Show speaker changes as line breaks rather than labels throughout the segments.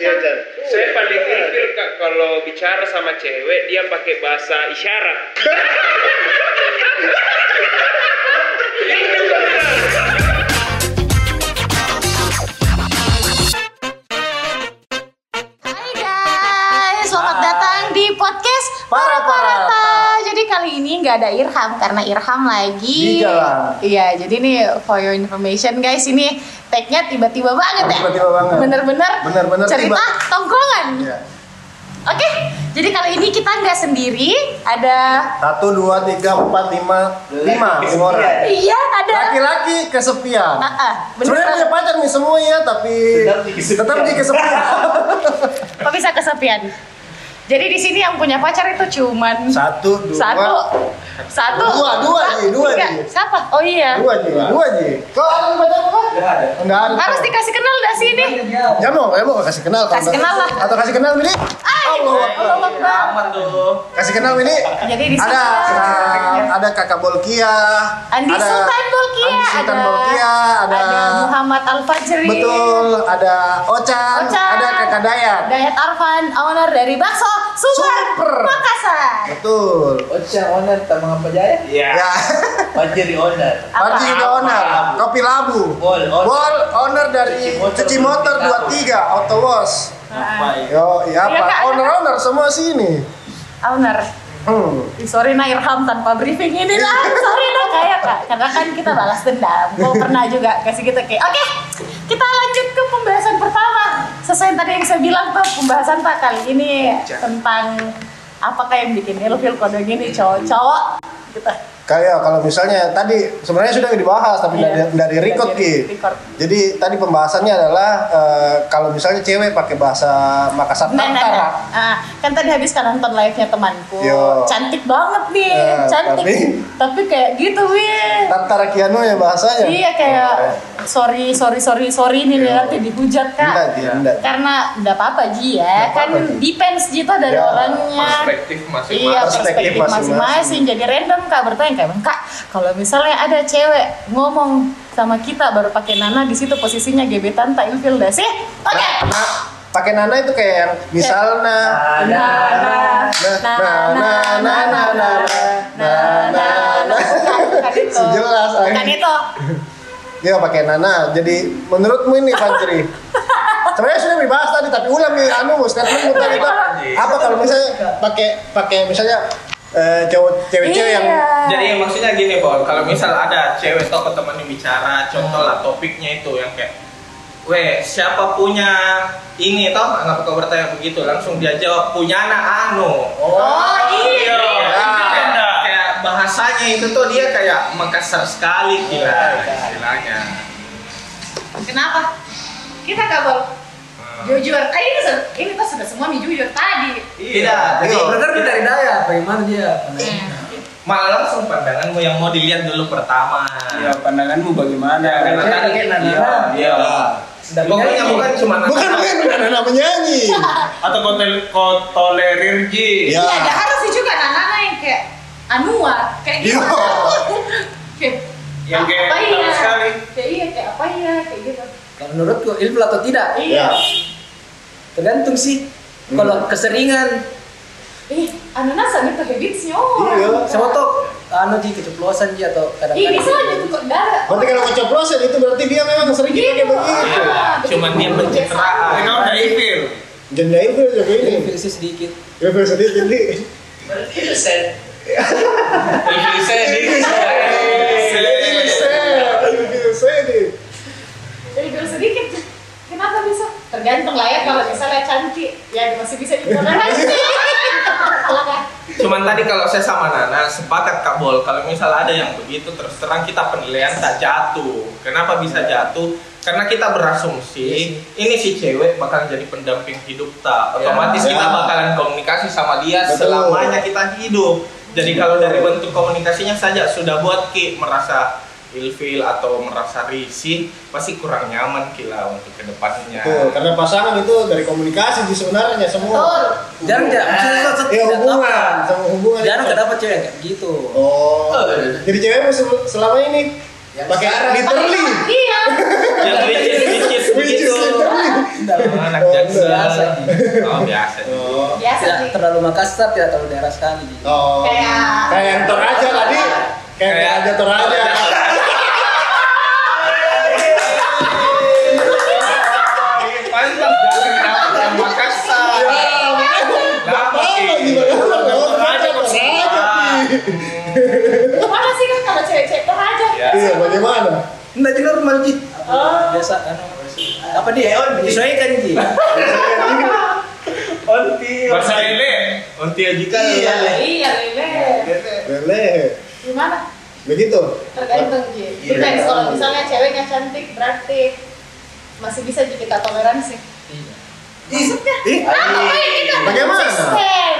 Iya, Chan.
Saya paling ilfil Kak, kalau bicara sama cewek dia pakai bahasa isyarat. Itu benar.
Hai guys, selamat datang di podcast
Para Parata.
Jadi kali ini nggak ada Irham karena Irham lagi.
Di jalan.
Iya, jadi nih for your information guys, ini tag-nya tiba-tiba banget ya.
Tiba-tiba banget.
Bener-bener.
Bener-bener
cerita
tiba.
tongkrongan.
Iya.
Oke, jadi kali ini kita nggak sendiri, ada
Satu, dua, tiga, empat, lima, lima lima orang.
iya ada.
Laki-laki kesepian.
Ah, ah, bener.
Sebenarnya punya pacar nih semua ya, tapi
Tetap di kesepian.
tetap di kesepian.
Kok bisa kesepian? Jadi di sini yang punya pacar itu cuman
Satu, dua,
satu, satu,
Dua, dua nih, dua
tiga.
nih.
Siapa? Oh iya.
dua aja, dua aja. Kau ada pacar apa?
Gak ada.
Enggak ada.
Harus dikasih kenal dah sini.
Ya mau, ya mau kasih kenal.
Kasih
Tante.
kenal lah.
Atau kasih kenal ini? Allah Akbar.
Allah Akbar.
Aman tuh.
Kasih kenal ini.
Jadi di
Ada,
sana
ada kakak Bolkia.
Andi
ada-
Sultan Bolkia,
Andi Sultan
ada-
Bolkia, ada,
ada Muhammad Al Fajri.
Betul, ada Ocan,
Ocan.
ada Kakak Dayat.
Dayat Arfan, owner dari Bakso Super,
Super.
Makassar.
Betul.
Ocha owner tambah apa jaya?
Ya.
Wajah di owner.
Apa?
Panji juga owner,
Labu.
kopi labu.
Wall owner.
Wall owner
Cuci
dari
motor
cuci motor
23.
23 Auto Wash.
Apa
Yo, iya
Iya, Kak.
apa? Owner-owner semua sini.
Owner.
Hmm.
Ih, Sorry nah Irham tanpa briefing ini lah. Sorry nah kayak kak. Karena kan kita balas dendam. Kau pernah juga kasih kita kayak. Oke, kita lanjut ke pembahasan pertama. Sesuai tadi yang saya bilang tuh pembahasan pak kali ini
Iya.
tentang apakah yang bikin ilfil kode gini cowok-cowok gitu.
Kayak kalau misalnya tadi sebenarnya sudah dibahas tapi
Iya.
dari dari record
Dari
Ki.
record.
Jadi tadi pembahasannya adalah eh, kalau misalnya cewek pakai bahasa Makassar
Nah, nah,
Tartara.
nah. Ah, kan tadi habis kan nonton live-nya temanku.
Yo.
Cantik banget nih,
Eh,
cantik. Tapi,
tapi-
kayak gitu, wih.
Tartara Kiano ya bahasanya.
Iya kayak
Eh.
sorry sorry sorry sorry ini nanti dihujat
Enggak,
kak.
Ki, enggak.
Karena nggak apa-apa Ji
Nggak
ya, kan
apa-apa, Ji.
depends gitu dari
Ya,
orangnya.
Perspektif masing-masing.
Iya
Perspektif
perspektif
masing-masing.
masing-masing. Jadi random kak bertanya kayak "Bang, kak kalau misalnya ada cewek ngomong sama kita baru pakai nana di situ posisinya gebetan tak ilfil dah sih. Oke.
Nah, pakai nana itu kayak yang misalnya
Nana,
Nah, nah, nah, nah, nah, nah, nah, nah.
Bukan, bukan itu.
Sejelas, Ayu.
Bukan itu.
Ya pakai nana. Jadi menurutmu ini Fajri. Sebenarnya sudah dibahas tadi tapi ulang nih anu statementmu tadi Pak. Apa kalau misalnya pakai pakai misalnya eh, cowok cewek-cewek yang
Iya.
Jadi maksudnya gini Bon, kalau misal ada cewek atau teman yang bicara, contoh lah topiknya itu yang kayak, weh siapa punya ini toh anak kau bertanya begitu langsung dia jawab punya anak anu.
Oh, iya.
Kayak-
Iya.
Kayak bahasanya itu tuh dia kayak Makassar sekali gila
Iya.
istilahnya.
Kenapa? Kita kabel. Jujur, eh, ini, se- ini tuh sudah semua nih jujur tadi.
Iya.
Tidak, jadi
Bener nih dari Dayat, bagaimana dia?
Iya,
malah langsung pandanganmu yang mau dilihat dulu pertama.
Ya pandanganmu bagaimana?
Jangan tanya kayak Nana. Iya. Pokoknya bukan cuma Nana.
bukan bukan bukan nana menyanyi.
Atau kau, tel- kau tolerir Ji?
Ya.
Iya, ada harus sih juga anak-anak yang kayak Anua, kayak
Iya.
gitu. Kayak,
Yang
"Ah,
kayak
apa
tahu
iya?
sekali.
Kayak iya, kayak apa iya, kayak gitu.
Kalau menurutku ilmu atau tidak?
Ya.
Iya.
Tergantung sih. Kalau keseringan,
Ih, anak-anak sama itu habitsnya orang.
Iya.
sama tuh anu Ji keceplosan Ji atau
Ih,
kadang-kadang.
bisa aja tuh kok darah.
Berarti kalau keceplosan itu berarti dia memang sering
Gitu.
pakai begitu.
Ah,
Cuman dia
begitu.
pencitraan.
Tapi kau udah ilfil.
Janda itu juga
Iya.
ini.
Ilmu sih sedikit.
Ya bisa dia jadi. Jadi bisa. Bisa nih.
Jadi dulu sedikit. Kenapa bisa? Tergantung lah ya kalau misalnya cantik, ya masih bisa ditoleransi. Kalau nggak-
Cuman tadi kalau saya sama Nana sepakat Kak Bol, kalau misalnya ada yang begitu terus terang kita penilaian tak jatuh. Kenapa bisa
Iya.
jatuh? Karena kita berasumsi ini si cewek bakal jadi pendamping hidup tak. Otomatis
Ya.
kita bakalan komunikasi sama dia
Betul. Iya.
selamanya kita hidup. Jadi kalau dari bentuk komunikasinya saja sudah buat Ki merasa ilfil atau merasa risih, pasti kurang nyaman Kila untuk kedepannya.
Tuh, karena pasangan itu dari komunikasi sih sebenarnya
Betul.
semua.
Jarang jarang. Maksudnya,
Ya
tidak
hubungan,
dapat.
sama hubungan.
Jarang
itu.
gak dapat cewek yang kayak gitu.
Oh.
Eh.
Jadi cewekmu se- selama ini
Ya,
pakai
sekarang.
literally.
Iya.
Yang which is, which is
Which is
begitu.
literally.
Dalam-
anak
Oh,
jaksel
biasa.
lagi. Oh biasa.
Oh.
Biasa
Tidak
sih.
terlalu Makassar, tidak terlalu daerah sekali.
Oh.
Kayak-
kayak yang toraja tadi. Kayak yang aja toraja.
Pantas jalan dapat yang Makassar.
Ya, apa lagi bagaimana? Toraja toraja. Pi.
Mana sih kan kalau cewek-cewek toraja?
Ya.
Iya, bagaimana?
Enggak juga rumah Ji.
Oh.
Biasa kan. Apa dia? Oh, disesuaikan Ji.
Bahasa Lele. Onti Ajika.
Iya, Lele.
Boleh.
Gimana?
Begitu.
Tergantung Ji. Depends kalau misalnya ceweknya cantik berarti masih bisa jadi kita toleransi. Maksudnya?
Ih,
Apa kayak kita
Bagaimana?
konsisten.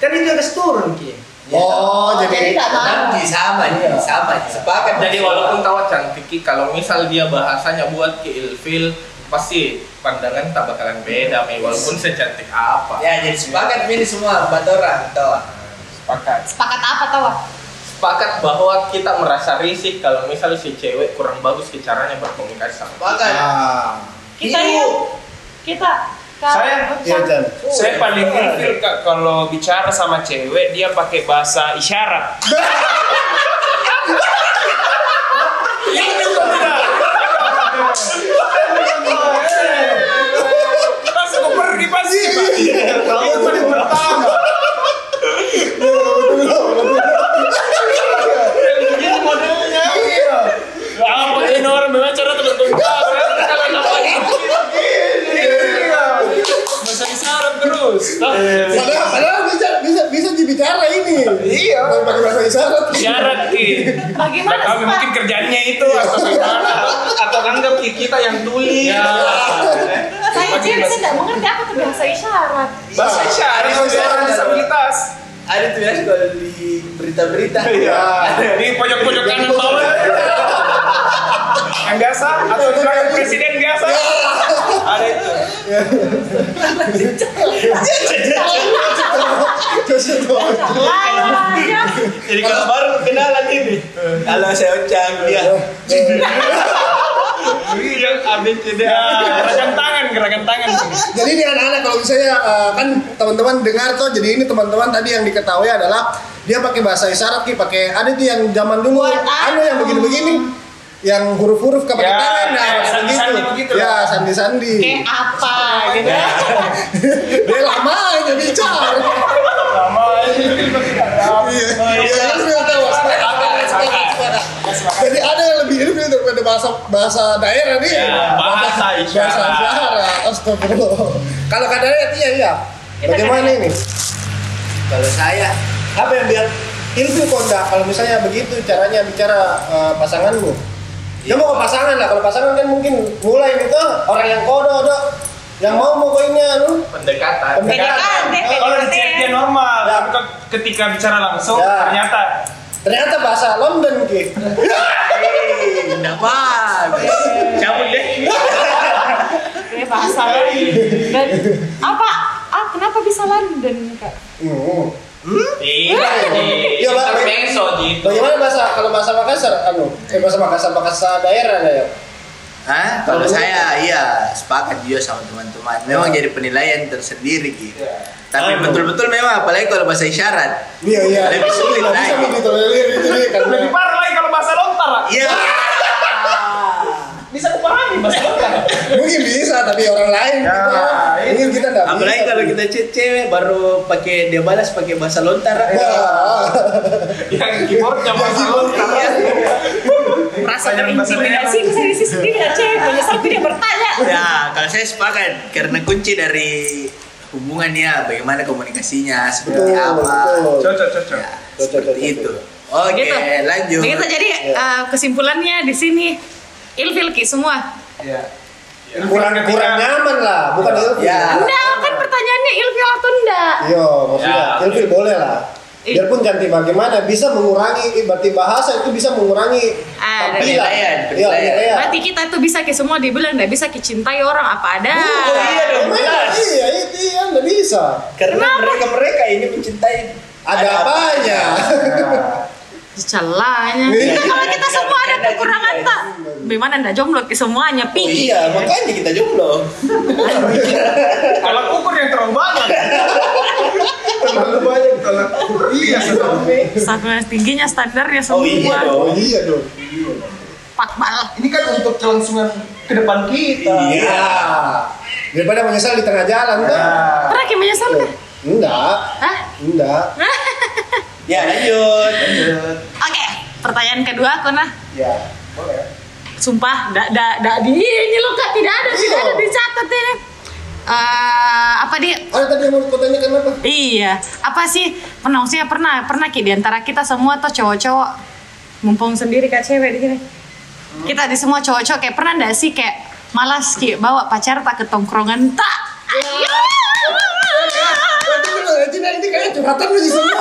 Kan itu yang kasih turun Ki.
Oh,
jadi
jadi
nggak mau.
Nanti sama nih, sama sepakat.
Jadi walaupun tawa cantik Ki, kalau misal dia bahasanya buat ke ilfil pasti pandangan tak bakalan beda Mi, walaupun secantik apa.
ya jadi sepakat ini semua empat orang toh.
Sepakat.
Sepakat apa tau?
Sepakat bahwa kita merasa risih kalau misal si cewek kurang bagus ke caranya berkomunikasi sama kita.
Sepakat.
Ah,
Kita
Iu.
yuk. Kita. Kak,
Saya-
Kak.
iya, Chan.
Saya paling ilfil kak kalau bicara sama cewek dia pakai bahasa isyarat. Pas aku pergi pasti Pak.
Kamu paling pertama. Iya.
Apa ini orang memang cara tertentu. Kalau napa itu bahasa isyarat terus. Nah,
Padahal, padahal bisa bisa bisa dibicara ini. Iya. Pakai bahasa isyarat.
Isyarat gitu. Nggak
Bagaimana
tahu
sih
mungkin
Pak?
kerjanya itu atau gimana.
Atau anggap Ki, kita yang tuli.
Ya.
Saya Ji bisa nggak mengerti apa tuh bahasa isyarat.
Bahasa isyarat.
Iya.
Bahasa isyarat.
disabilitas.
Ada tuh ya kalau di berita-berita.
Iya.
Di pojok-pojok kanan bawah.
Iya. Yang biasa atau di belakang presiden biasa.
Iya.
Ada itu.
Terus itu.
Ayah,
Jadi kalau baru kenalan ini, kalau saya ucap dia
Iya.
iya,
Yang abis
Ya, gerakan tangan, gerakan tangan.
Iya.
Jadi ini anak-anak kalau misalnya eh, kan teman-teman dengar tuh jadi ini teman-teman tadi yang diketahui adalah dia pakai bahasa isyarat ki pakai ada tuh yang zaman dulu
Buat
anu yang
apa?
begini-begini yang huruf-huruf ke pakai
Ya,
tangan nah
kayak
begitu.
sandi-sandi begitu
ya
lah.
sandi-sandi
Kayak apa gitu.
dia lama aja bicara
iya,
lama aja iya iya tahu jadi ada yang lebih ilmu daripada bahasa bahasa daerah nih
Ya, bahasa isyarat.
bahasa isyarat astagfirullah kalau kata daerah iya iya bagaimana ini
kalau saya
apa yang biar ilmu konda kalau misalnya begitu caranya bicara eh, pasanganmu ya mau ke
Iya.
pasangan lah kalau pasangan kan mungkin mulai nih tuh orang yang kodo do yang mau mau kau ini anu
pendekatan.
Pendekatan,
iya.
deh,
kan?
Kalau di chat dia normal,
Ya.
tapi kok ketika bicara langsung
Iya.
Ya.
ternyata
Ternyata bahasa London gitu. ki.
tidak bagus.
Cabut deh.
Kayak bahasa London. Dan apa? Ah, kenapa bisa London, Kak?
Hmm.
Iya.
Iya, Pak.
Intermezzo gitu.
Bagaimana bahasa kalau bahasa Makassar? Anu, eh, bahasa Makassar bahasa daerah lah ya.
Hah? Kalau saya iya sepakat juga sama teman-teman. Memang jadi penilaian tersendiri gitu.
Iya.
Tapi
Aduh.
betul-betul memang apalagi kalau bahasa isyarat.
Iya iya.
Lebih sulit
Nggak bisa
lagi.
begitu tolerir itu dia kan. karena.
lebih parah lagi kalau bahasa lontar. Pak.
Iya.
Bisa kupahami bahasa lontar.
Mungkin bisa tapi orang lain. gitu. Mungkin kita nggak. bisa.
Ya, iya.
Iya.
Apalagi kalau kita chat cewek baru pakai dia balas pakai bahasa lontar.
Wah.
Yang Iya. keyboardnya bahasa lontar.
Merasa
Banyak bahasa
terintimidasi bisa diisi sendiri dan cewek menyesal tidak bertanya.
Ya, kalau saya sepakat karena kunci dari hubungannya bagaimana komunikasinya seperti
Betul,
apa.
betul.
Cocok, cocok.
Ya,
Cocok,
seperti
cocok,
itu.
cocok.
Oke,
Begitu.
lanjut. Iya.
Begitu Gitu. jadi eh, kesimpulannya di sini ilfil ki semua.
Kurang kurang nyaman lah, bukan ilfil.
Ya.
Enggak, kan pertanyaannya ilfil atau enggak?
Iya, maksudnya
Ya.
ilfil boleh lah.
Ih.
Biarpun ganti bagaimana bisa mengurangi eh, berarti bahasa itu bisa mengurangi
Ah,
tampilan.
penilaian,
Iya,
penilaian.
penilaian.
Berarti kita tuh bisa ki semua dibilang enggak bisa kecintai orang apa ada.
iya dong, jelas.
Iya, itu yang nggak bisa.
Karena mereka mereka ini mencintai
Ada apanya?
Celahnya.
Iya.
Itu kalau kita semua ada kekurangan tak? Bagaimana ndak jomblo ke semuanya?
Iya. Oh
Pi.
iya, makanya kita jomblo.
Kalau ukur yang terlalu banyak.
Terlalu banyak kalau
Iya,
Standar tingginya standarnya semua.
Oh iya
Oh
dong.
iya dong.
Pak bal.
ini kan untuk kelangsungan ke depan kita.
Iya. Daripada menyesal di tengah jalan
Iya.
kan?
Pernah kayak menyesal kah?
Enggak,
Hah?
enggak.
Ya lanjut.
Oke, pertanyaan kedua aku nah.
Ya, boleh.
Sumpah, dak dak dak di ini loh kak tidak ada tidak ada dicatat ini. Eh, apa di
Ada tadi yang mau kau tanyakan apa?
Iya, apa sih? Pernah maksudnya pernah pernah ki di antara kita semua tuh cowok-cowok mumpung sendiri kayak cewek di sini.
Hmm.
Kita di semua cowok-cowok kayak pernah ndak sih kayak malas ki bawa pacar tak ke tongkrongan tak. Iya! Ayo.
Nanti kalau nanti nanti nah, kayaknya curhatan lu di semua.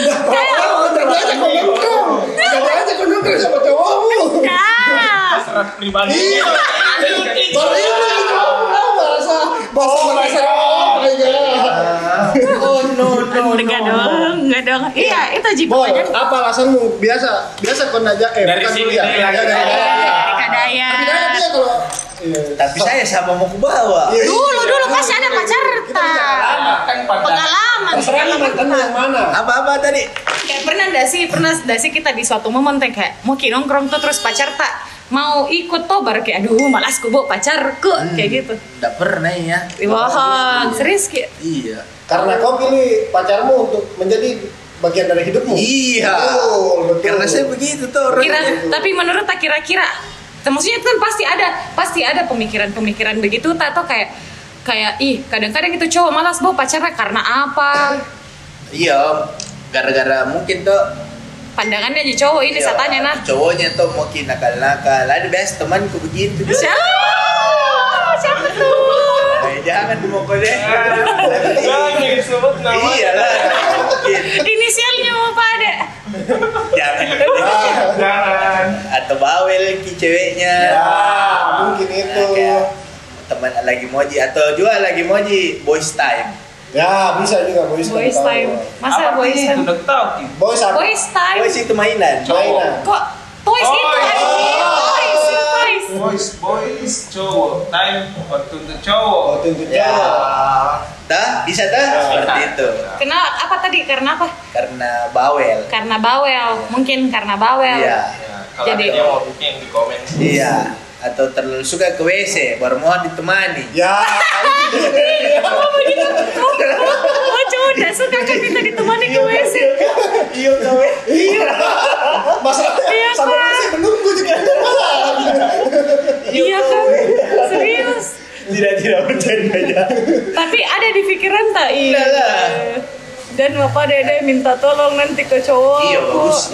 Kayak-
Oh,
Coba aja kau nongkrong. Coba aja kau nongkrong sama cowokmu.
Nah,
Serat pribadi.
Iya. Baru ini lagi ngomong bahasa bahasa
Iya.
bahasa apa ya?
Oh no no
enggak dong, enggak dong. Iya, itu ji
Boy,
pertanyaan.
apa alasanmu? Biasa, biasa kau najak eh
Dari
bukan
sini,
kuliah.
dari
Ya,
lagi.
dari-
Eh, Kak
Tapi kan
Dayat.
dia kalau Iya.
Tapi
So-
saya sama mau ke bawah.
Iya, iya.
Dulu dulu pasti ada pacar
Kita bicara
tak.
lama.
Kan pada
Pengalaman.
Terserah lah mantanmu yang mana?
Apa-apa tadi?
kayak pernah ndak sih pernah ndak sih kita di suatu momen teh kayak mau ki nongkrong tuh terus pacar tak mau ikut tuh baru kayak aduh malas ku bawa pacarku kayak gitu
Hmm, Nggak pernah ya.
Wah, serius ki
Iya.
Karena kau pilih pacarmu untuk menjadi bagian dari hidupmu.
Iya.
Betul, Oh, betul.
Karena saya begitu tuh
kira
orangnya.
tapi menurut tak kira-kira Tuh, maksudnya kan pasti ada pasti ada pemikiran-pemikiran begitu tak tuh kayak kayak ih kadang-kadang itu cowok malas bawa pacarnya karena apa
Iya. Gara-gara mungkin tuh ya,
pandangannya aja cowok ini
Iya.
saya tanya nah
Cowoknya tuh mau kini nakal-nakal. Ada biasa temanku begitu.
siapa siapa tuh
Eh, jangan mau kau deh.
Ah,
Jangan Iya. disebut nama.
Iya lah. Mungkin.
inisialnya mau pada
Jangan.
Nah,
Jangan.
Atau bawel ki ceweknya.
Ya, mungkin itu.
Kayak teman lagi moji atau juga lagi moji boys time.
Ya, bisa juga boys.
boys
kalau
time
tahu.
masa boys time
Udah tahu Ki.
Boys apa?
Boys time.
Boys Oh, itu mainan.
Mainan.
Kok toys itu
Toys.
ada sih?
iya.
Toys, toys.
Boys, boys, cowok, time waktu untuk cowok.
Waktu Oh, itu
Ya.
jauh.
Tah, bisa tah seperti itu.
Karena apa tadi? Karena apa?
Karena bawel.
Karena bawel. Mungkin karena bawel.
Iya.
Ya, kalau
Jadi-
ada yang mau bikin di komen.
Iya. Atau terlalu suka ke WC, baru mohon ditemani.
Ya,
Oh, begitu. Oh, oh, oh, cowok udah suka kan minta ditemani ke WC.
Iya kawe.
iya.
Iya,
Masalahnya sampai
Pak.
masih menunggu juga.
Iya kan? Serius.
Tidak tidak bercanda ya.
Tapi ada di pikiran tak? Iya.
Iya lah.
Dan bapak dede minta tolong nanti ke cowok.
Iya bagus.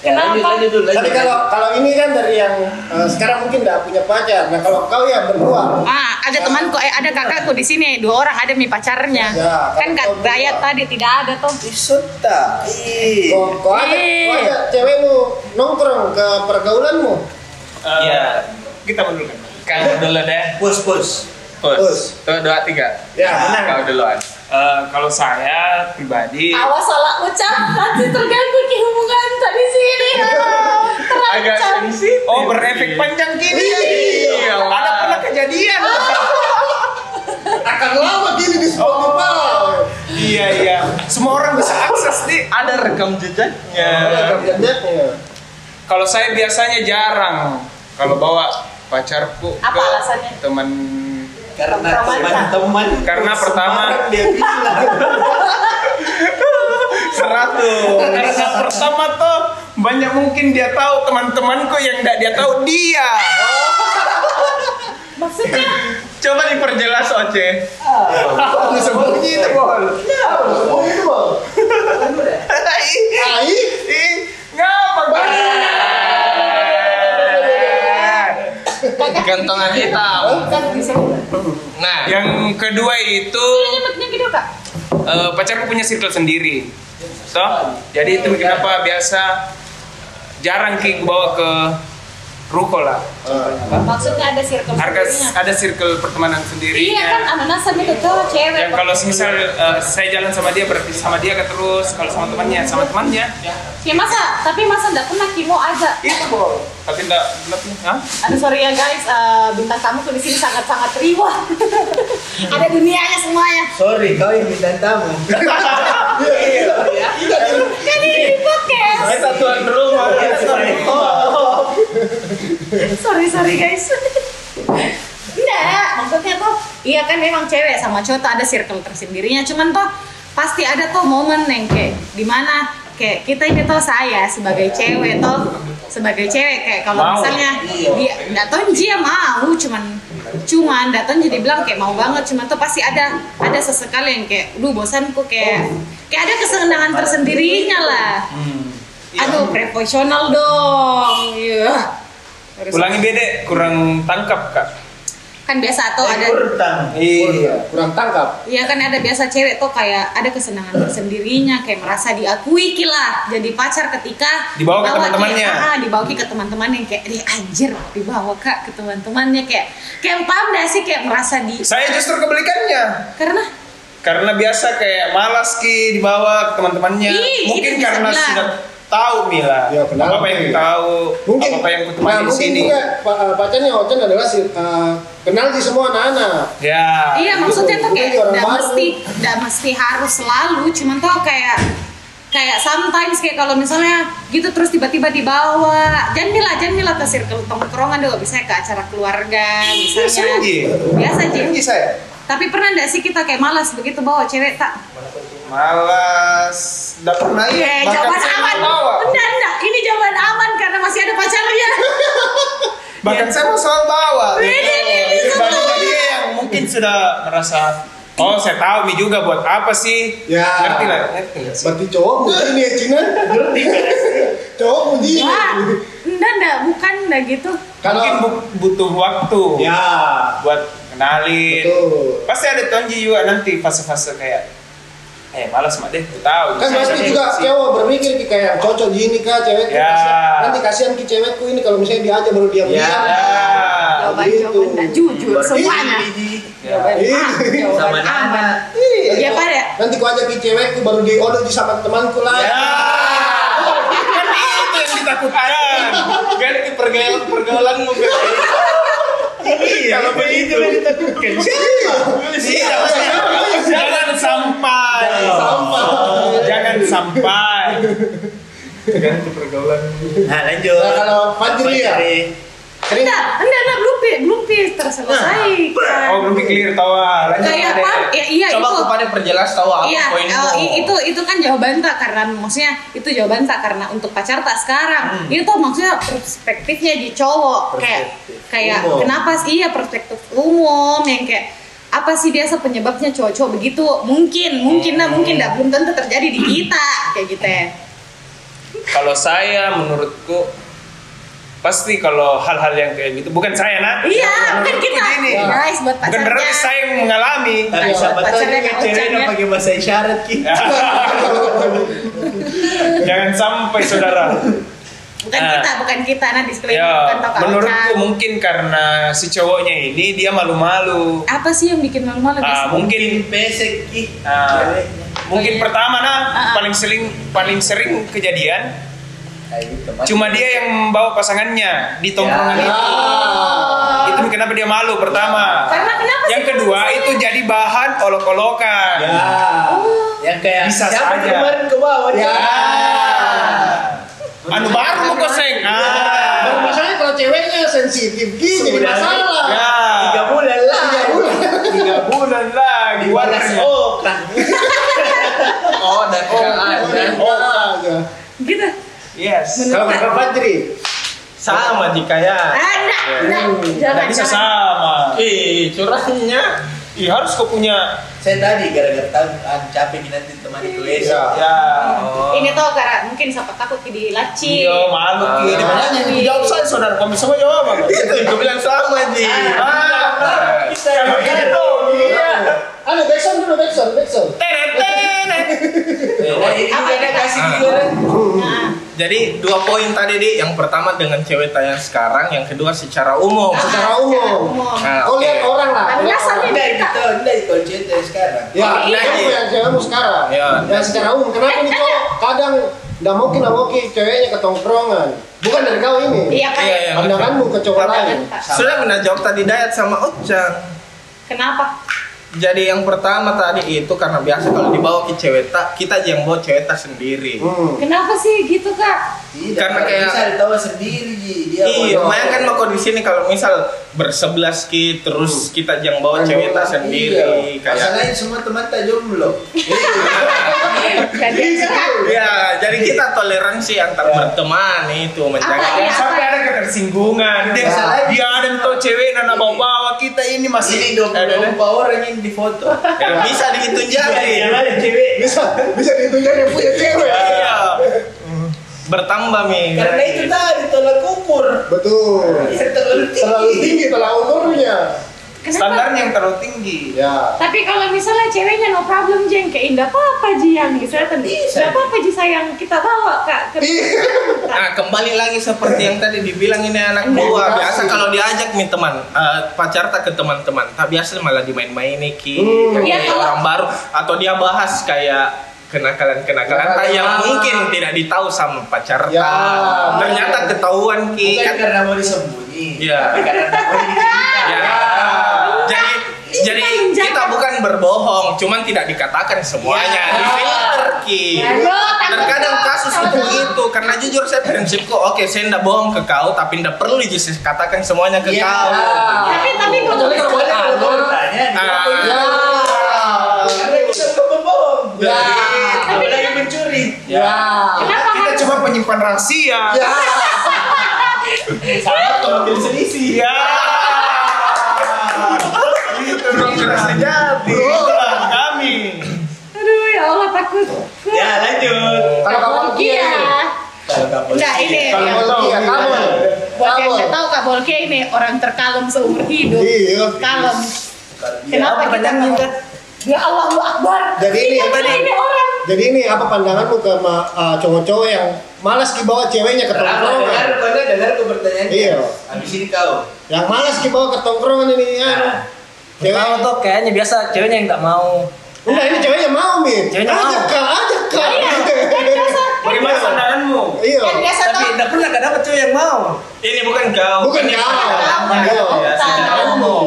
Ya,
Oh.
lanjut
Kenapa?
lanjut dulu. lanjut,
Tapi kalau kalau ini kan dari yang eh, sekarang mungkin nggak punya pacar. Nah, kalau kau ya berdua.
Ah, ada temanku, eh, ada kakakku di sini, dua orang ada mi pacarnya.
Ya,
kan
kalau cowok
Kak Dayat
dua.
tadi tidak ada tuh.
lanjut. Isota. Ih.
Kau, kau Oh, ada, kau ada cewekmu nongkrong ke pergaulanmu.
Eh,
Iya. Kita dulu kan. Kang dulu deh.
Bos bos.
Pus.
Terus Tuh dua tiga.
Ya, benar.
Kau duluan. Eh, kalau saya pribadi
Awas salah ucap, nanti terganggu di hubungan tadi sini.
agak sensitif. Oh berefek panjang gini. Iya. Ada pernah kejadian.
Akan lama gini di Spotify.
Oh, Iya iya. Semua orang bisa akses nih.
Ada rekam jejaknya.
Oh, ada jejaknya.
Kalau saya biasanya jarang kalau bawa pacarku
Apa
ke
alasannya?
teman
Karena
Teman-teman.
teman-teman.
Karena pertama-
Semarang dia bilang.
seratus. Karena pertama tuh banyak mungkin dia tahu teman-temanku yang tidak dia tahu dia.
Maksudnya,
Coba diperjelas Oce.
Kok bisa bunyi itu, Bol? Ya, bunyi itu, Bol. Ai.
Ih, ngapa
kakak
Gantongan hitam.
Kakak bisa.
Nah,
Yang kedua itu
Ini gede gitu, kak.
eh, pacarku punya circle sendiri. Toh, jadi itu kenapa biasa jarang ki gua bawa ke ruko lah contohnya kan.
Maksudnya ada circle
Harga
sendirinya.
ada circle pertemanan sendiri.
Iya kan ananasan itu tuh cewek.
Yang kalau misal eh, saya jalan sama dia berarti sama dia kan terus kalau sama temannya sama temannya
Ya masa, tapi masa nggak pernah kimo aja.
itu bol. Tapi enggak gelap nih. Hah?
Aduh sorry ya guys, eh, bintang tamu tuh di sini sangat-sangat riwah. Ada dunianya semuanya.
Sorry, kau yang bintang tamu.
Kan ini di podcast.
Kita tuan rumah.
sorry sorry guys enggak maksudnya tuh iya kan memang cewek sama cowok tuh ada circle tersendirinya cuman tuh pasti ada tuh momen yang kayak dimana kayak kita ini tuh saya sebagai cewek tuh sebagai cewek kayak kalau misalnya dia nggak tahu dia mau cuman cuman datang jadi bilang kayak mau banget cuman tuh pasti ada ada sesekali yang kayak duh bosanku kayak kayak ada kesenangan tersendirinya lah
Hmm.
aduh profesional dong iya Harus-
Ulangi bede kurang tangkap kak.
kan biasa tuh ada
Iya, kurang tangkap.
Iya kan ada biasa cewek tuh kayak ada kesenangan tersendirinya kayak merasa diakui kila jadi pacar ketika
Dibawa ke
bawa dia-
teman-temannya.
ah, dibawa ke teman-temannya yang kayak dia anjir dibawa kak ke teman-temannya kayak kayak paham gak sih kayak merasa di
Saya justru kebalikannya
karena
karena biasa kayak malas ki dibawa ke teman-temannya.
Ih,
Mungkin
itu bisa
karena
bilang.
sudah tahu Mila.
Ya, benar.
apa yang tahu,
Mungkin
apa yang kutemani
nah,
di
mungkin
sini.
juga pa- eh, pacarnya Ojan adalah si, eh, kenal di semua anak-anak.
Ya.
iya maksudnya tuh kayak
Orang
gak
baru.
mesti gak mesti harus selalu cuman tuh kayak kayak sometimes kayak kalau misalnya gitu terus tiba-tiba dibawa jangan bila jangan bila ke circle tongkrongan dong bisa ke acara keluarga
Iya,
misalnya
Senji.
biasa Ji.
Senji saya.
Tapi pernah nggak sih kita kayak malas begitu bawa cewek tak?
Malas. Nggak pernah ya.
Eh,
bahkan
jawaban
saya
aman.
mau bawa.
Enggak, enggak. Ini jawaban aman karena masih ada ya. pacarnya.
Bahkan saya mau soal bawa.
Wih,
gitu.
ini, ini, ini,
Dibandingkan dia yang mungkin sudah merasa Oh, saya tahu Mi juga buat apa sih?
Ya.
Ngerti lah, ngerti nggak sih?
Berarti cowok muji nih Cina. cowok muji.
Wah, enggak, enggak. Bukan enggak gitu.
Kalau
Mungkin bu- butuh waktu
ya
buat kenalin.
betul.
Pasti ada tonji juga nanti fase-fase kayak eh malas mah deh, gue tahu.
Kan pasti juga cewek berpikir ki kayak cocok gini kah cewek
Ya.
nanti kasihan ki cewekku ini kalau misalnya dia aja baru diam diam.
Ya.
Jawaban
gitu.
jawaban Nah, enggak jujur semuanya. Jawaban
Ih.
aman, jawaban
Sama
aman.
Iya.
Ya pada.
Nanti ku ajak ki cewekku baru diodo di sama temanku lah.
Ya. Kan itu yang ditakutkan. Ganti pergaulan pergaulanmu Beb.
Iya.
Kalau begitu ditakutkan. Iya, Jangan sampai. Jangan sampai. Ganti pergaulan.
Nah lanjut.
Nah, kalau Fajri ya? Sering
Enggak, enggak, enggak. Belum, pi- belum pi- terselesai.
Oh, belum clear tawa. Lanjut.
Kayak
Dek.
apa? Ya, iya
Coba
itu.
kepada perjelas tahu apa
Iya,
poinmu.
eh, i- itu itu kan jawaban tak karena maksudnya itu jawaban tak karena untuk pacar tak
Hmm.
sekarang. Itu maksudnya perspektifnya di cowok kayak kayak
umum.
kenapa sih iya perspektif umum yang kayak apa sih biasa penyebabnya cowok-cowok begitu? Mungkin, mungkin nah, mungkin
Hmm.
dah belum tentu terjadi di kita kayak gitu ya.
Kalau saya menurutku pasti kalau hal-hal yang kayak gitu bukan saya nak.
Iya, bukan
menurutku
kita. Iya.
gini.
Guys, buat
Bukan
pacarnya.
berarti saya yang mengalami.
Tapi siapa tahu
Pacarnya ya.
dia
nggak
cewek
pacarnya.
udah pakai bahasa isyarat ki.
Jangan sampai saudara.
Bukan
Ah.
kita, bukan kita nah disclaimer bukan
ya,
tokoh
menurutku mungkin karena si cowoknya ini dia malu-malu.
apa sih yang bikin malu-malu guys?
Ah, mungkin
Pesek ki.
ah, mungkin
Iya.
pertama nah
Ah.
paling sering paling sering kejadian cuma dia yang membawa pasangannya di tongkrongan
Ya.
itu. Itu kenapa dia malu pertama.
Karena kenapa sih
Yang kedua
kalau
itu
misalnya-
jadi bahan olok-olokan.
Ya.
Yang kayak
Bisa
siapa
saja.
tuh kemarin ke bawah?
Ya.
Anu baru mau koseng.
Baru
Ah.
masalahnya kalau ceweknya sensitif gini jadi
Sudah.
masalah.
Ya.
Tiga bulan lah.
Tiga bulan.
Tiga bulan lagi.
Balas
warnanya.
okan.
Oh, dan
Dan aja.
gitu.
Yes.
Kalau kalau Fajri.
sama jika
Ah,
ya.
enggak, enggak. Jangan,
Nggak bisa
jangan.
sama.
Ih, curangnya.
Ih, harus kau punya.
Saya tadi gara-gara tahu ah, capek nih nanti teman itu
Ya.
esok.
Ya.
Ini tuh karena mungkin siapa takut di laci.
Iya, malu ki. Dia banyak yang jawab saya saudara. Kami semua jawab. Bang.
Itu gue bilang sama Ji.
Ah. Kalau gitu.
Iya. Ada backsound dulu backsound backsound.
Teret, teret.
Oh, ini
Apa
ada
ini?
kasih juga.
Nah,
Ah. Jadi dua poin tadi di yang pertama dengan cewek tayang sekarang, yang kedua secara umum.
Ah.
secara umum.
Nah,
Oh
oke.
lihat orang lah.
Tapi dasarnya
Enggak gitu, enggak di kunci dari sekarang.
Ya,
Oh, iya.
kamu yang cewekmu sekarang.
Iya.
Yang secara umum, kenapa nih cowok kadang nggak mau nggak mau ceweknya ketongkrongan? Bukan dari kau ini.
Iya kan?
Iya, iya.
Pandanganmu ke cowok lain.
Pandangan, Pak.
Sudah pernah jawab tadi diet sama Ocang.
Kenapa?
Jadi yang pertama tadi itu karena biasa kalau dibawa ke cewek tak, kita aja yang bawa cewek tak sendiri.
Hmm.
Kenapa sih gitu kak?
Karena
Tidak, Iya, karena
kayak-
bisa ditawa sendiri Ji. dia.
Iya,
bodoh.
bayangkan mah kondisi ini kalau misal bersebelas ki terus kita aja yang bawa cewek tak sendiri
Iya.
kayak
Hmm. Masalahnya semua teman tak jomblo.
Jadi
Ya, jadi kita toleransi antar
Iya.
berteman itu
Apa
menjaga.
ya?
Jangan sampai ada ketersinggungan. Dia
Nah.
dia ada tuh cewek dan bawa bawa kita ini masih
Ini dua
Ada- ada.
puluh empat orang yang difoto.
Ya, bisa dihitung
Yang
jari.
ada cewek.
Bisa bisa ya, ditunjuk yang punya cewek.
Iya. Bertambah mi.
Karena itu tadi tolak ukur.
Betul.
Iya,
Ya, terlalu tinggi.
Terlalu tinggi telah umurnya.
standarnya yang terlalu tinggi.
Ya.
Tapi kalau misalnya ceweknya no problem jeng kayak indah apa-apa ji yang saya tadi. Enggak apa-apa ji sayang kita bawa kak. Ke-
Nah, kembali lagi seperti yang tadi dibilang ini anak buah. Biasa kalau diajak nih teman, eh, pacar tak ke teman-teman. Tak biasa malah dimain-mainin ki.
Hmm.
Kayak
Iya, kalau-
orang baru atau dia bahas kayak kenakalan-kenakalan
Iya.
Ya.
tak yang mungkin tidak ditahu sama pacar
Ya.
tak. Ternyata ketahuan ki.
Iya. Bukan
Kan-
karena mau disembunyi.
Iya.
Tapi karena tak mau Iya. dicerita.
Ya. Jadi
Iya,
jadi kita bukan berbohong, cuman tidak dikatakan semuanya.
Ya.
Difilter ki. Terkadang kasus itu gitu karena jujur saya prinsipku oke saya ndak bohong ke kau tapi ndak perlu justru katakan semuanya ke
Iya.
kau.
Tapi tapi
Kecuali
kalau
kalau boleh kalau boleh tanya. dia
Ah.
apa itu? Karena kita bukan pembohong.
Ya.
Tapi lagi mencuri.
Ya.
kenapa
Kita
harus
cuma penyimpan rahasia.
Ya.
Sama kalau jadi selisih.
Iya. Itu dong keras sejati. Itulah kami.
Aduh ya Allah takut.
Ya lanjut.
Kalau kamu
Iya.
Kalau nggak boleh.
Enggak ini.
Kalau
ya.
kamu ya kamu.
Buat yang
Kamu.
nggak tahu Kak Bolke ini orang terkalem seumur hidup.
Iya.
Kalem.
Kalau dia-
Kenapa kita
Pertanyaan
nggak- Ya Allahu Akbar.
Jadi ini
Ini
yang tadi.
ini orang.
Jadi ini apa pandanganmu ke ma- uh, cowok-cowok yang malas dibawa ceweknya ke
Pertama dengar,
tongkrongan?
pernah dengar ke pertanyaannya.
Iya.
Habis ini kau.
Yang malas dibawa ke tongkrongan ini ya.
Mau
Cewek.
tuh kayaknya biasa ceweknya yang tak mau.
Enggak, ini ceweknya mau, Mi.
Ceweknya
Ajak
mau.
kak, ajak kak.
Iya. Kan
Bagaimana pandanganmu?
Iya.
Yang biasa
Tapi
tuh.
tidak pernah gak dapet cewek yang mau.
Ini bukan kau.
Bukan
Ini
ya.
pandangan.
Iya.
Ya, secara
Tahu.
umum.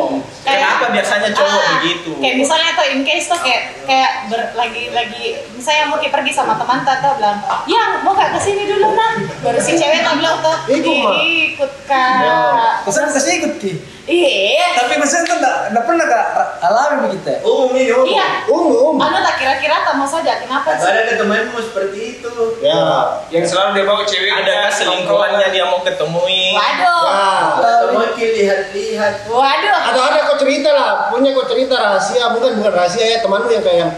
Kayak-
Kenapa biasanya cowok
Ah,
begitu?
Kayak misalnya tuh in case tuh kayak kayak ber- lagi lagi misalnya mau pergi sama teman tuh tuh bilang, "Ya, mau gak kesini dulu, Nak?" Baru si cewek tuh bilang tuh,
Ikut, Ma.
"Ih, ikut, Kak."
Pesan kasih ikut ki.
Iya.
Tapi pesan tuh gak, gak pernah gak alami begitu.
Umum ini umum.
Iya.
Umum.
Anu tak kira-kira tamu saja kenapa
Kalau
sih?
ada temanmu seperti itu.
Ya.
Yang selalu dia bawa cewek
Adakah selingkuhannya dia mau ketemui?
Waduh.
Ya.
Atau mungkin lihat-lihat.
Waduh.
Atau ada kok cerita lah, punya kok cerita rahasia, bukan bukan rahasia ya temanmu yang kayak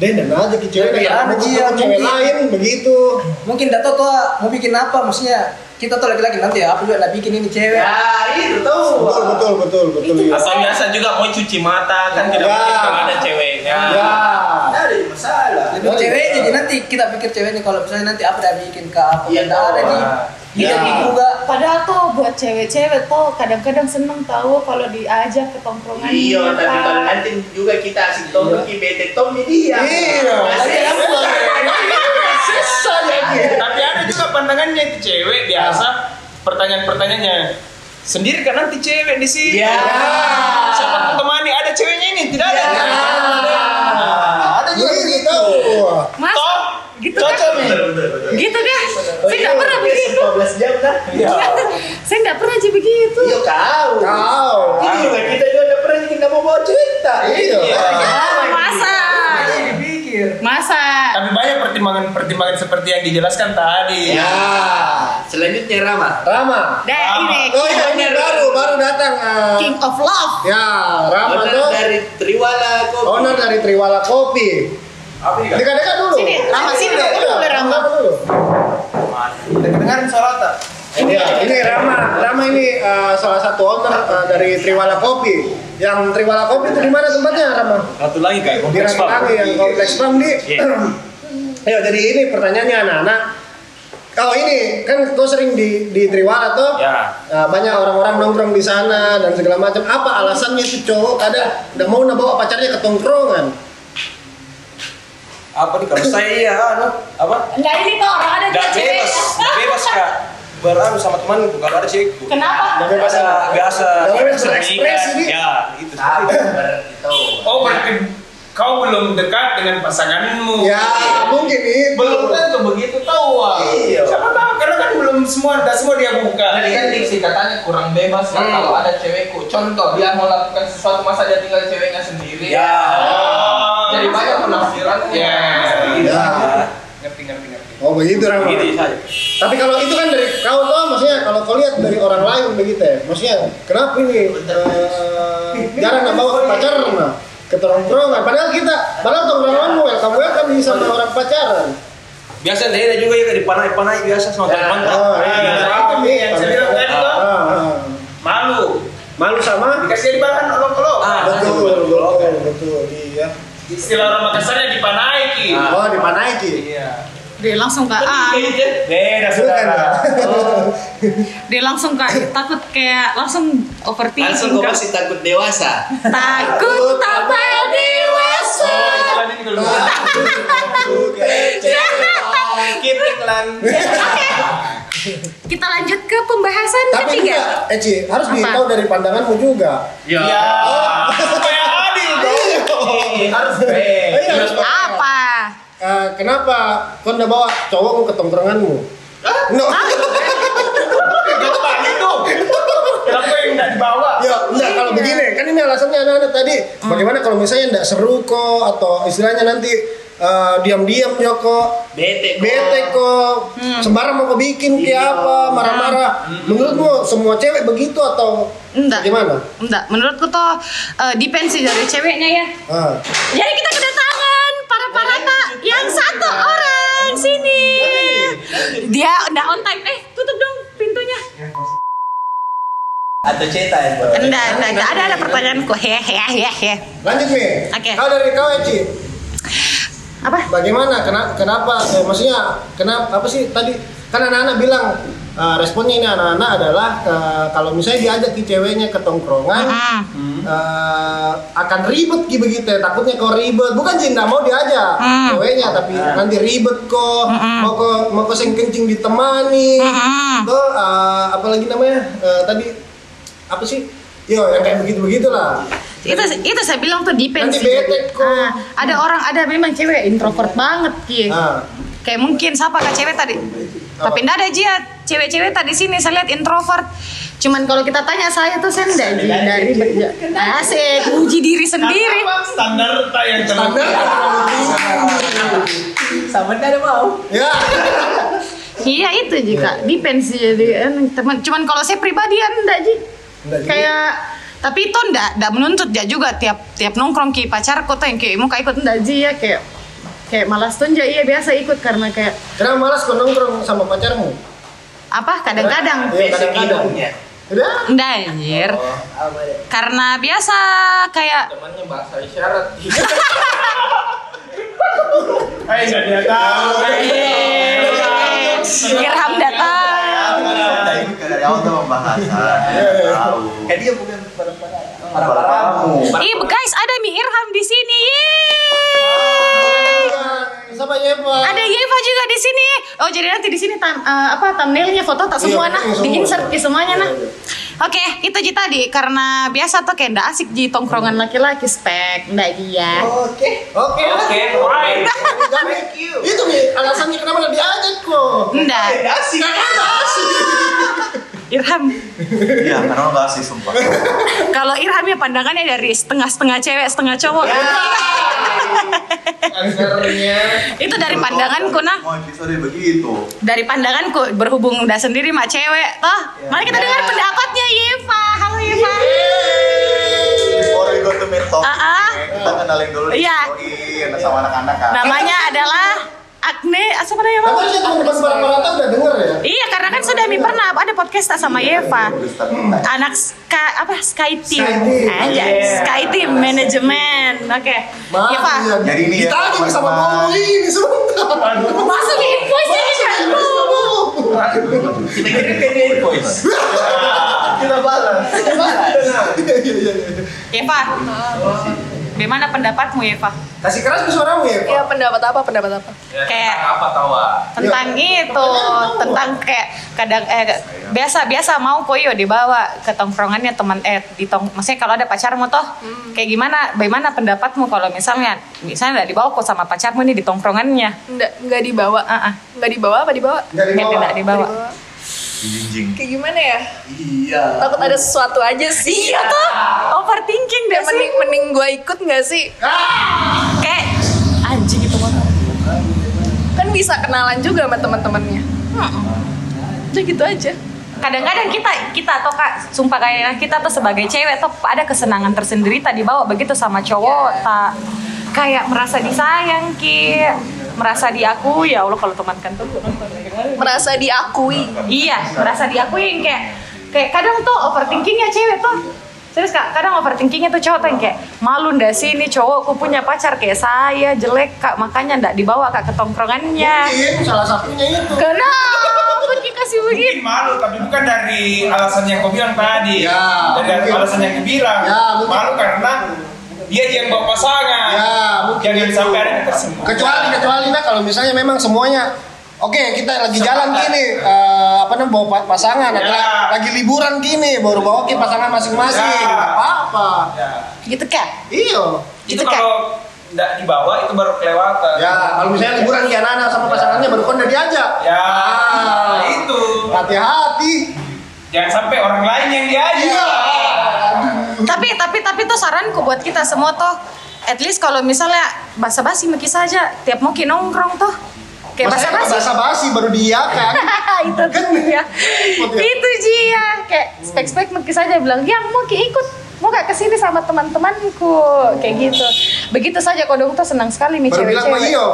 dia dan aja ke cewek,
Tapi
kayak
ada
ketemu
dia,
sama cewek
mungkin.
lain begitu.
Mungkin gak tahu tuh mau bikin apa. Maksudnya kita tuh laki-laki nanti ya. Aku juga gak bikin ini cewek.
Ya itu tahu.
Betul betul betul betul.
Itu.
ya.
Atau biasa juga mau cuci mata kan tidak
Ya.
mungkin kalau ada ceweknya.
Ya.
Tidak ada masalah.
Lebih cewek jadi nanti kita pikir ceweknya kalau misalnya nanti apa dah bikin ke apa
Iya,
yang ada di
Iya.
kita juga
Padahal tuh buat cewek-cewek tuh kadang-kadang seneng tahu kalau diajak ke tongkrongan.
Iya,
Pak.
tapi kalau nanti juga kita asik tom pergi bete tom ni dia.
Iya.
Masih ada pula.
Sesat lagi.
Tapi ada juga pandangannya itu cewek biasa pertanyaan-pertanyaannya sendiri kan nanti cewek di sini.
Iya.
Ya.
Siapa tuh temani ada ceweknya ini tidak ada.
Iya.
Ya. Ada juga begitu. Wah.
Mas,
Toh,
gitu
Cocok
kan?
nih.
Gitu kan? Saya nggak
Iya,
pernah begitu.
14 jam lah.
Iya.
Saya nggak pernah aja begitu.
Iya kau.
Kau.
Ini juga kita juga udah pernah kita mau bawa cerita.
Iya.
Masa?
dipikir
Masa?
Tapi banyak pertimbangan-pertimbangan seperti yang dijelaskan tadi.
Iya.
Ya. Selanjutnya Rama.
Rama.
Dah ini
Oh iya, ini baru baru datang. eh.
King of Love.
Ya, Rama
Owner
tuh
dari Triwala Kopi.
owner dari Triwala Kopi.
Apa juga?
Dekat-dekat dulu.
Sini, Rama, sini dulu,
Iya,
boleh, Rama.
dulu.
Dengar suara tak?
Iya, ini Rama. Rama ini eh, salah satu owner eh, dari Triwala Kopi. Yang Triwala Kopi itu di mana tempatnya, Rama?
Satu lagi kayak
Di
Iya.
Rangitangi yang kompleks Bang di. Ya, jadi ini pertanyaannya anak-anak. Eh kalau ini kan kau sering di di Triwara tuh
Ya.
nah, banyak orang-orang nongkrong di sana dan segala macam. Apa alasannya itu cowok kadang nggak mau nabawa pacarnya ke tongkrongan?
apa nih kalau saya iya anu apa
Enggak ini tuh orang ada
nggak
dua cewek.
bebas nggak bebas kak beranu sama temanku kalau ada cewekku
Kenapa?
Nggak bebas.
biasa biasa
Iya.
Nggak bebas berekspresi, Di.
ya
gitu.
itu
Oh berarti kau belum dekat dengan pasanganmu.
Ya mungkin itu.
Belum tentu begitu tahu. Wak.
Iya.
Siapa tahu karena kan belum semua dan semua dia buka.
Tadi kan diksi katanya kurang bebas ya kalau ada cewekku. Contoh dia mau lakukan sesuatu masa dia tinggal ceweknya sendiri.
Iya.
Ya.
Oh.
Ah. Jadi banyak penafsiran.
Ya.
Iya,
Ya.
Ngerti ngerti ngerti.
Oh begitu Rama.
gitu saja
Tapi kalau itu kan dari kau tuh maksudnya kalau kau lihat dari orang lain begitu ya. Maksudnya kenapa ini eh, jarang nabawa pacar nah, ke tongkrongan padahal kita padahal tongkrongan welcome welcome di sama orang pacaran.
biasa dia juga ya di panai panai biasa sama teman
Oh,
Ah,
iya.
itu nih yang saya bilang tadi
Ah,
loh.
ah, ah.
Malu.
Malu sama
Dikasih bahan olok-olok.
Ah.
betul betul betul, iya
Istilah orang Makassarnya dipanaiki.
Ah.
oh di mana iki
iya
Dia langsung kak, ah,
beda
bukan
saudara
dia langsung kak takut kayak langsung overthinking. kan?
Langsung kau
Kak.
pasti takut dewasa.
Takut tambah dewasa. Oke, kita lanjut ke pembahasan
tapi
ketiga.
juga Eci harus
ya? Apa?
ditahu dari pandanganmu juga
Ya.
Supaya adil dong. Harus
Eh,
fair.
iya, harus tahu.
Apa?
Eh, kenapa kau ndak bawa cowokmu ke tongkronganmu no
Kembali dong. Kenapa yang nggak dibawa?
ya enggak kalau begini kan ini alasannya anak-anak tadi bagaimana kalau misalnya enggak seru kok atau istilahnya nanti eh, diam-diam nyoko
Bete.
Oh.
kok.
bete kok sembarang mau kau bikin kayak apa marah-marah menurutmu semua cewek begitu atau
Enggak.
gimana
Enggak, menurutku tuh eh, depends sih dari ceweknya ya.
ah.
Jadi kita kedatangan para para kak yang satu orang sini. Dia udah on time. Eh, tutup dong pintunya.
Atau ceta ya. Bro?
Iya.
Enggak, enggak, enggak ada ada pertanyaanku. Hehehe, hehehe.
Lanjut nih.
Oke.
Kau dari kau Eci.
Apa?
Bagaimana? Kenapa? Kenapa? Eh, maksudnya kenapa? Apa sih tadi? Kan anak-anak bilang eh, responnya ini anak-anak adalah eh, kalau misalnya diajak ke ceweknya ke tongkrongan
Hmm.
eh, akan ribet gitu begitu. ya. Takutnya kau ribet. Bukan sih nggak mau diajak
Hmm.
ceweknya, tapi nanti ribet kok.
Ah.
Mau kok mau kok seng kencing ditemani.
Hmm.
Tuh eh, apalagi namanya Eh, tadi apa sih? Yo, yang kayak begitu-begitu lah.
itu itu saya bilang tuh depends
Nanti
sih.
bete kok.
Ah, ada orang ada memang cewek introvert banget Ki.
Ah.
Kayak mungkin siapa kak cewek tadi? Tapi enggak ada Ji, ya cewek-cewek tadi sini saya lihat introvert. Cuman kalau kita tanya saya tuh saya enggak Ji, enggak ribet Ji. Asik, uji diri sendiri.
Standar tak yang terlalu.
Sama tidak ada mau.
Ya.
Iya itu Ji Kak, depends sih jadi eh, teman. Cuman kalau saya pribadi ya enggak Ji.
Enggak, Ji.
Kayak tapi itu enggak, enggak menuntut ya juga tiap tiap nongkrong ki pacarku tuh yang kayak mau ikut enggak Ji ya kayak kayak malas tunjuk iya biasa ikut karena kayak
Kenapa malas kau nongkrong sama pacarmu?
apa kadang-kadang
Iya, kadang-kadang. Udah.
Enggak anjir. Karena biasa kayak
Temannya bahasa isyarat.
Eh jadi tahu.
Irham datang.
Dari awal tuh bahasa. Tahu.
Kan dia bukan para-para.
Para kamu.
Ih, guys, ada Mi Irham di sini. Yeay.
Sama ya, Yeva.
Ada Yeva juga di sini. Oh, jadi nanti di sini tam- eh, apa thumbnailnya foto tak
Iya,
semua nah,
iya, semua.
di insert ya semuanya nah.
Iya, iya.
Oke, itu Ji tadi karena biasa tuh kayak ndak asik di tongkrongan laki-laki spek, ndak iya.
Oh. Oke.
Oke, why?
Thank you. Itu nih alasannya kenapa nggak diajak kok.
Ndak.
Asik. Karena asik.
Irham,
Iya, karena bahasa sih sumpah.
Iya.
kalau Irham ya pandangannya dari setengah-setengah cewek, setengah cowok. itu dari pandanganku nah
Mau episode begitu.
dari pandanganku berhubung udah sendiri sama cewek toh mari kita dengar pendapatnya Yeva halo Yeva
Before we go to meet topic,
Ah, ah.
kita kenalin dulu nih,
Iya.
Zoin, sama anak-anak kan.
namanya adalah Agne ah, siapa namanya Bang?
Tapi sih teman teman para para udah denger ya.
iya karena kan sudah mi pernah ada podcast sama Yeva anak Ska- apa Sky Team
Sky Team. Oh,
aja Sky Team manajemen oke
Maaf,
Yeva
ya.
Jadi ini ya,
kita aja
teman-teman.
sama Bobo ini sebentar.
masuk info sih
Bobo.
Kita kirim kayaknya invoice.
Kita balas. Kita balas.
Yeva Bagaimana pendapatmu Yeva?
Kasih keras ke suaramu ya, Pak.
Iya pendapat apa? Pendapat apa?
Ya,
Kayak-
tentang apa tawa?
tentang itu tentang kayak kadang eh, biasa biasa mau koyo dibawa ke tongkrongannya teman eh di tong maksudnya kalau ada pacarmu toh
Hmm.
kayak gimana bagaimana pendapatmu kalau misalnya misalnya nggak dibawa kok sama pacarmu nih di tongkrongannya
Nggak, nggak dibawa.
Ah, ah.
Nggak dibawa apa dibawa?
Nggak
Nggak-
dibawa.
nggak dibawa
Dijinjing.
Kayak gimana ya?
Iya.
Takut ada sesuatu aja sih.
iya toh overthinking deh
Udah
sih
mending mending gue ikut nggak sih?
kayak anjing itu motor
Kan bisa kenalan juga sama teman-temannya.
Hmm.
Udah gitu aja.
kadang-kadang kita kita atau kak sumpah kayak kita tuh sebagai cewek tuh ada kesenangan tersendiri tadi bawa begitu sama cowok tak kayak merasa disayang ki merasa diakui ya allah kalau teman kantor gua nonton bagaimana?
Merasa diakui.
iya merasa diakui yang kayak kayak kadang tuh overthinkingnya cewek tuh serius kak kadang overthinkingnya tuh cowok tuh yang kayak malu ndak sih ini cowokku punya pacar kayak saya jelek kak makanya ndak dibawa kak ke tongkrongannya
Mungkin salah satunya itu.
kenapa dikasih begini
Mungkin malu tapi bukan dari alasan yang kau bilang tadi
Ya,
dan dari
mungkin.
alasan yang kau bilang
Ya, mungkin.
malu karena dia yang bawa pasangan
Ya, mungkin
jangan
itu.
sampai ada yang Ya. tersembuh
Kecuali kecuali nah kalau misalnya memang semuanya Oke, kita lagi jalan kini, eh, apa namanya bawa pa- pasangan,
Ya.
lagi, lagi liburan kini, baru bawa ke pasangan masing-masing,
Ya.
Nggak apa-apa.
Ya.
gitu kak
Iya.
itu kalau tidak dibawa itu baru kelewatan
Ya, kalau misalnya liburan ke anak sama pasangannya, baru kau udah diajak.
Ya,
Ah.
itu
Hati-hati.
jangan sampai orang lain yang diajak
Iya.
tapi tapi tapi tuh saranku buat kita semua tuh at least kalau misalnya basa-basi mungkin saja tiap mungkin nongkrong tuh kayak
Masa
basa-basi
basa-basi baru kan. diiakan.
itu tuh ya itu dia kayak spek-spek mungkin saja bilang ya mungkin ikut mau gak kesini sama teman-temanku kayak gitu begitu saja kodong tuh senang sekali nih
baru bilang sama
cewek-cewek
Iyo,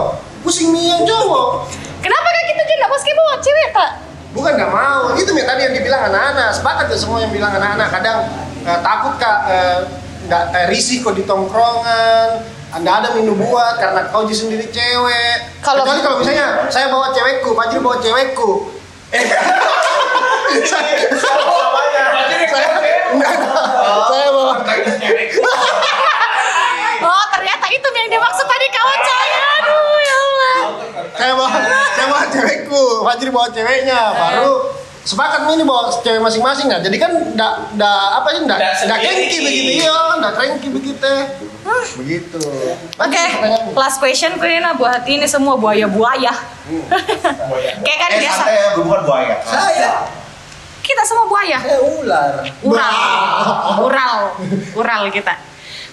pusing nih yang cowok.
kenapa gak gitu dia gak mau bawa cewek tak
Bukan nggak mau, itu nih tadi yang dibilang anak-anak. Sepakat tuh semua yang bilang anak-anak. Kadang eh, takut kak eh, nggak eh, risih kok di tongkrongan. Anda ada minum buat karena kau jadi sendiri cewek.
Kalau-
Kecuali kalau misalnya saya bawa cewekku, Fajri bawa cewekku. Eh, saya, saya, enggak, enggak. saya bawa
oh ternyata itu yang dia maksud tadi kawan saya aduh ya Allah
saya bawa saya bawa cewekku Fajri bawa ceweknya baru sepakat nih ini bawa cewek masing-masing nah jadi kan ndak ndak apa sih ndak
Ndak
ndak
sendiri.
kengki begitu iya ndak kengki begitu begitu
Oke, last question Kurina buat ini semua buaya-buaya. Kayak kan biasa
ya, bukan buaya.
Saya,
kita semua buaya.
saya ular.
Ural, ural, ural kita.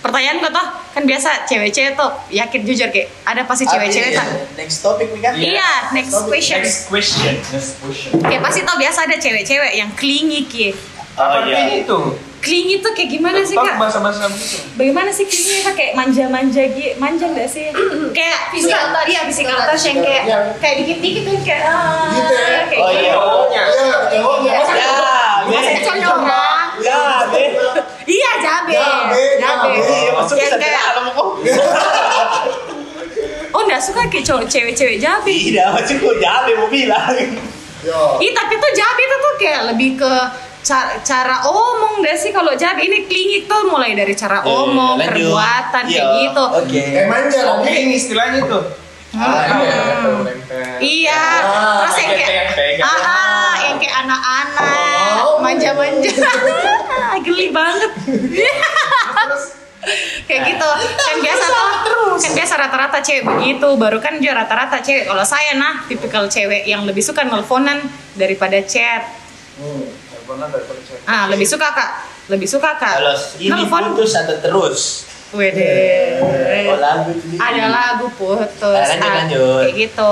Pertanyaan gue tuh kan biasa cewek-cewek tuh yakin jujur kayak ada pasti cewek-cewek tak.
Iya. Next topic nih kan?
Iya, next question.
Next question.
Kayak pasti tau biasa ada cewek-cewek yang clingy kayak.
Oh
Artinya
iya.
itu.
Clingy tuh kayak gimana sih
Tolong
kak?
bahasa-bahasa begitu.
gitu?
Bagaimana sih clingy kak? Kayak manja-manja gitu, manja nggak sih? kayak
Physical touch.
iya physical touch yang kayak
gitu, Yang-
kayak dikit-dikit tuh kayak ah,
Gitu ya?
kayak
Oh iya.
Pokoknya,
Iya. Masa
Be.
cowok orang?
Ya, be.
Iya jabe.
Jabe, jabe.
Iya, masuk
Yang
bisa
kayak,
jalan sama kau.
Oh nggak suka kayak cowok cewek-cewek jabe.
Tidak, masih kok jabe mau bilang.
yo
Ih tapi tuh jabe itu tuh kayak lebih ke cara, cara omong deh sih kalau jabe ini klingit tuh mulai dari cara omong,
Iya, lanjut.
perbuatan kayak
Iya,
gitu.
Oke.
eh manja lagi
ini istilahnya itu
Iya. Terus yang kayak ah, ah, Oh. yang kayak anak-anak manja-manja. Geli banget. kayak gitu kan biasa tuh kan biasa rata-rata cewek begitu baru kan dia rata-rata cewek kalau saya nah tipikal cewek yang lebih suka nelponan daripada chat Hmm, ah lebih suka kak lebih suka kak
Kalau ini
nelpon
putus atau terus?
wede Eh,
Oh, lagu itu.
ada lagu putus
Ah, lanjut,
Ah,
lanjut.
kayak gitu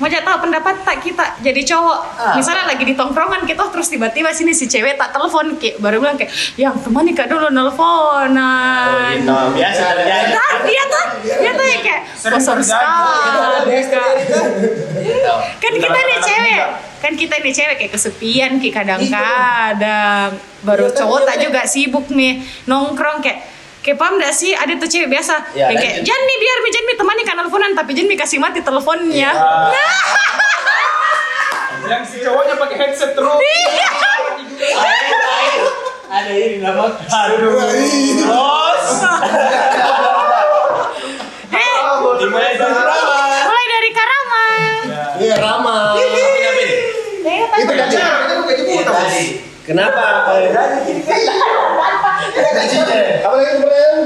mau jadi tahu pendapat tak kita jadi cowok
Ah.
misalnya lagi di tongkrongan kita terus tiba-tiba sini si cewek tak telepon kayak baru bilang kayak yang temani kak dulu Nah, nelponan
Gitu, biasa terjadi.
Nah, dia tuh, dia tuh yang kayak kosong sekali. Kan kita nih cewek, kan kita nih cewek kayak kesepian kayak
Iya,
kadang-kadang. Baru cowok tak juga sibuk nih nongkrong kayak Kayak paham gak sih, ada tuh cewek biasa
Iya,
Ya,
yang kayak,
lanjut.
Jan mi biar mi, Jan mi temani kan teleponan, tapi Jan mi kasih mati teleponnya. Nah,
yang si cowoknya pakai headset terus
Iya.
Iya.
Ada ini nama
aduh bos
Eh,
Dimulai dari berapa?
Mulai dari Karama.
Iya, Rama. Itu kan gaji. Iya, Kenapa? kan. Iya, Gajinya. Apa lagi kemarin?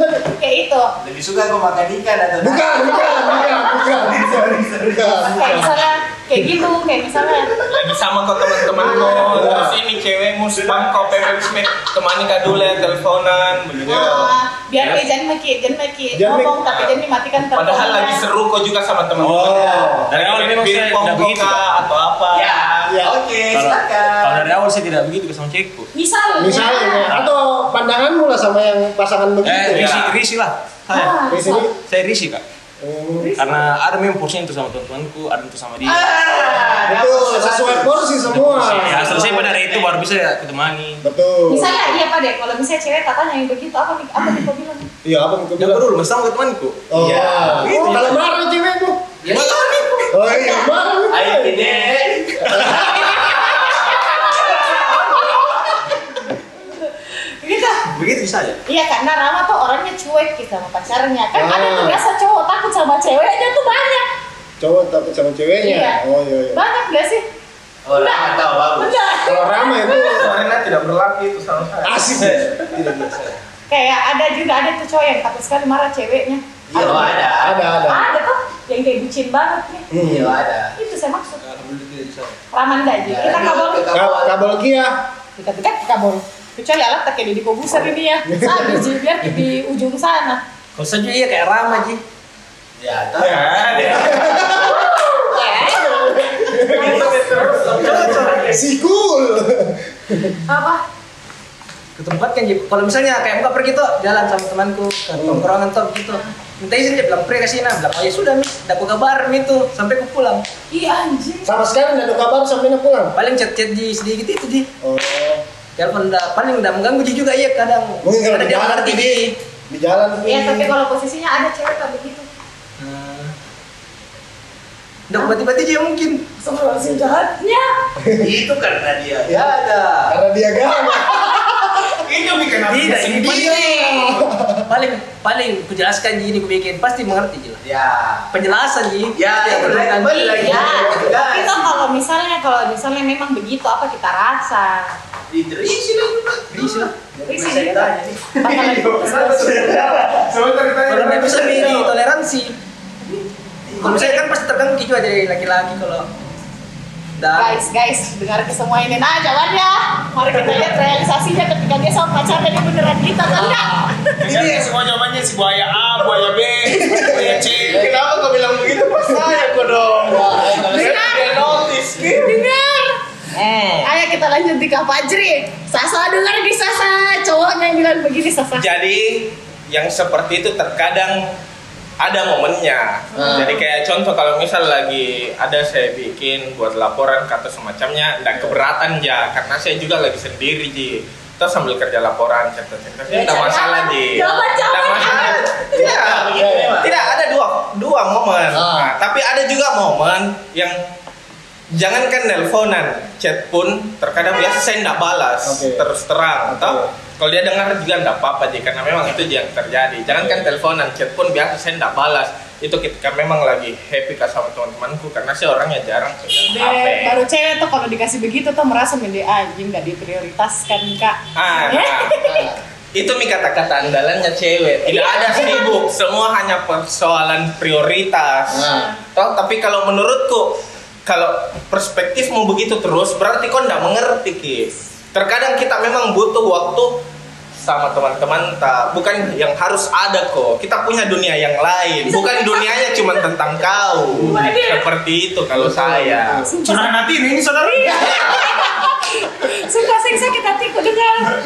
Kayak itu.
Lebih suka gue makan ikan atau
Bukan, bukan, bukan, bukan. Sorry, sorry. Bukan.
Kayak misalnya kayak gitu, kayak misalnya.
Lagi sama kok teman-teman kok. Terus ini cewekmu spam kok Pepem Smith temani kadulen teleponan begitu.
Nah, biar kayak jangan maki, jangan maki
Jangan
ngomong tapi jangan dimatikan teleponnya.
Padahal lagi seru kok juga sama teman
Oh.
Dari awal memang saya
tidak begitu, Pak.
atau apa?
Ya.
Ya.
Oke,
Kalau kalau dari awal saya tidak begitu sama cewekku.
Misal.
Misalnya, atau pandanganmu lah sama yang pasangan
Eh,
Ya. iya.
begitu. ya.
risi, risi lah. Saya,
Ah,
Di
so-
sini.
saya risi kak.
Hmm.
Karena ada memang porsinya itu sama teman-temanku, ada itu sama dia.
Ah.
Betul, sesuai porsi semua.
Iya,
Ya, selesai pada hari itu baru bisa ya ketemani.
Betul.
Misalnya iya Pak Dek, kalau misalnya cewek tak tanya yang begitu apa apa Dek kau bilang?
Iya, apa yang kau
Yang
bilang?
dulu masih sama temanku.
Oh,
Iya.
Oh, kalau marah cewekmu.
Ya,
Oh iya, marah.
Ayo gede.
Gitu.
Begitu bisa ya.
Iya karena Rama tuh orangnya cuek gitu sama pacarnya. Kan
Ah.
ada tuh biasa cowok takut sama ceweknya tuh banyak.
Cowok takut sama ceweknya.
Iya.
Oh iya iya.
Banyak gak sih?
Oh, lama tahu bagus.
Bener.
Kalau ramai itu
Iya, Karena tidak berlaku itu sama saya.
asik. Tidak biasa.
Kayak ada juga ada tuh cowok yang takut sekali marah ceweknya.
Iya, ada.
Ada ada.
Ada tuh yang kayak bucin banget nih.
Hmm.
Iya, ada.
Itu saya maksud. Ramanda aja. Kita kabel.
Ka- Kabel Kia.
Kita dekat ke kabel. Kecuali alat tak kayak di kubusar ini ya. Sabi Ji, biar di ujung sana.
Kau saja iya kayak Rama Ji.
Ya, tahu.
Sikul.
Apa?
Ke tempat kan Ji. Kalau misalnya kayak muka pergi tuh jalan sama temanku ke tongkrongan tuh gitu. Minta izin dia bilang pre kasih nah, bilang oh ya sudah mis, dah aku kabar itu sampai aku pulang.
Iya anjing.
Sama sekali tidak ada kabar sampai nak pulang.
Paling chat-chat di sedikit itu Ji.
Oh.
Telepon dah paling dah mengganggu Ji juga iya kadang.
Mungkin kalau di
Karena dia
jalan
mengerti
tadi
Ji.
di jalan.
Iya tapi kalau posisinya ada cewek tak begitu.
Dah tiba-tiba Ji mungkin.
Sebelum jahatnya.
Itu karena dia. Ya, ada.
karena dia gama.
Ini bikin apa?
Tidak, ini Paling paling kujelaskan Ji ini ku bikin pasti mengerti Ji lah.
Ya.
Penjelasan Ji.
Ya,
Tidak
ya, benar.
perlukan, Ji.
Kembali lagi.
Ya, tapi
Tegas.
toh kalau misalnya kalau misalnya memang begitu apa kita rasa?
Diterisi lah. Diterisi lah.
Risi juga. Bakalan putus
Kalau nggak bisa di di toleransi. Kalau misalnya kan pasti terganggu juga jadi laki-laki kalau dan
Guys, guys, dengar ke semua ini. Nah, jawabannya. Mari kita lihat realisasinya ketika dia sama pacarnya dia beneran kita kan enggak.
ini semua jawabannya si buaya A buaya B buaya C
Kenapa kau bilang begitu pas saya kok dong?
Iya.
Dia notice.
Dengar.
Eh.
Ayo kita lanjut di Kak Fajri. Sasa dengar di Sasa cowoknya yang bilang begini Sasa.
Jadi yang seperti itu terkadang ada momennya. Jadi kayak contoh kalau misal lagi ada saya bikin buat laporan kata semacamnya dan keberatan ya karena saya juga lagi sendiri ji. Terus sambil kerja laporan cerita-cerita
Ya,
tidak
cari
masalah
aman.
ji.
Jawaban,
Tidak
jawaban,
masalah.
aman.
Tidak.
Iya, iya.
Tidak ada dua dua momen. Nah, tapi ada juga momen yang jangankan nelponan, chat pun terkadang biasa saya tidak balas
Oke.
terus
Oke.
terang, atau kalau dia dengar juga tidak apa-apa sih karena memang itu yang terjadi. Jangankan teleponan, chat pun biasa saya tidak balas. Itu ketika memang lagi happy kah sama teman-temanku karena saya orangnya jarang pegang HP.
Dek, baru cewek tuh kalau dikasih begitu tuh merasa mende anjing nggak diprioritaskan kak.
Ah,
Ya?
nah. Itu mi kata-kata andalannya cewek. Tidak
Iya,
ada
memang.
sibuk, semua hanya persoalan prioritas.
Nah.
Toh, tapi kalau menurutku kalau perspektifmu begitu terus berarti kau tidak mengerti Ki. Terkadang kita memang butuh waktu sama teman-teman tak bukan yang harus ada kok kita punya dunia yang lain bukan dunianya cuma tentang kau seperti itu kalau saya
Sumpah,
curhat nanti ini saudara
sumpah siksa kita tipu dengar.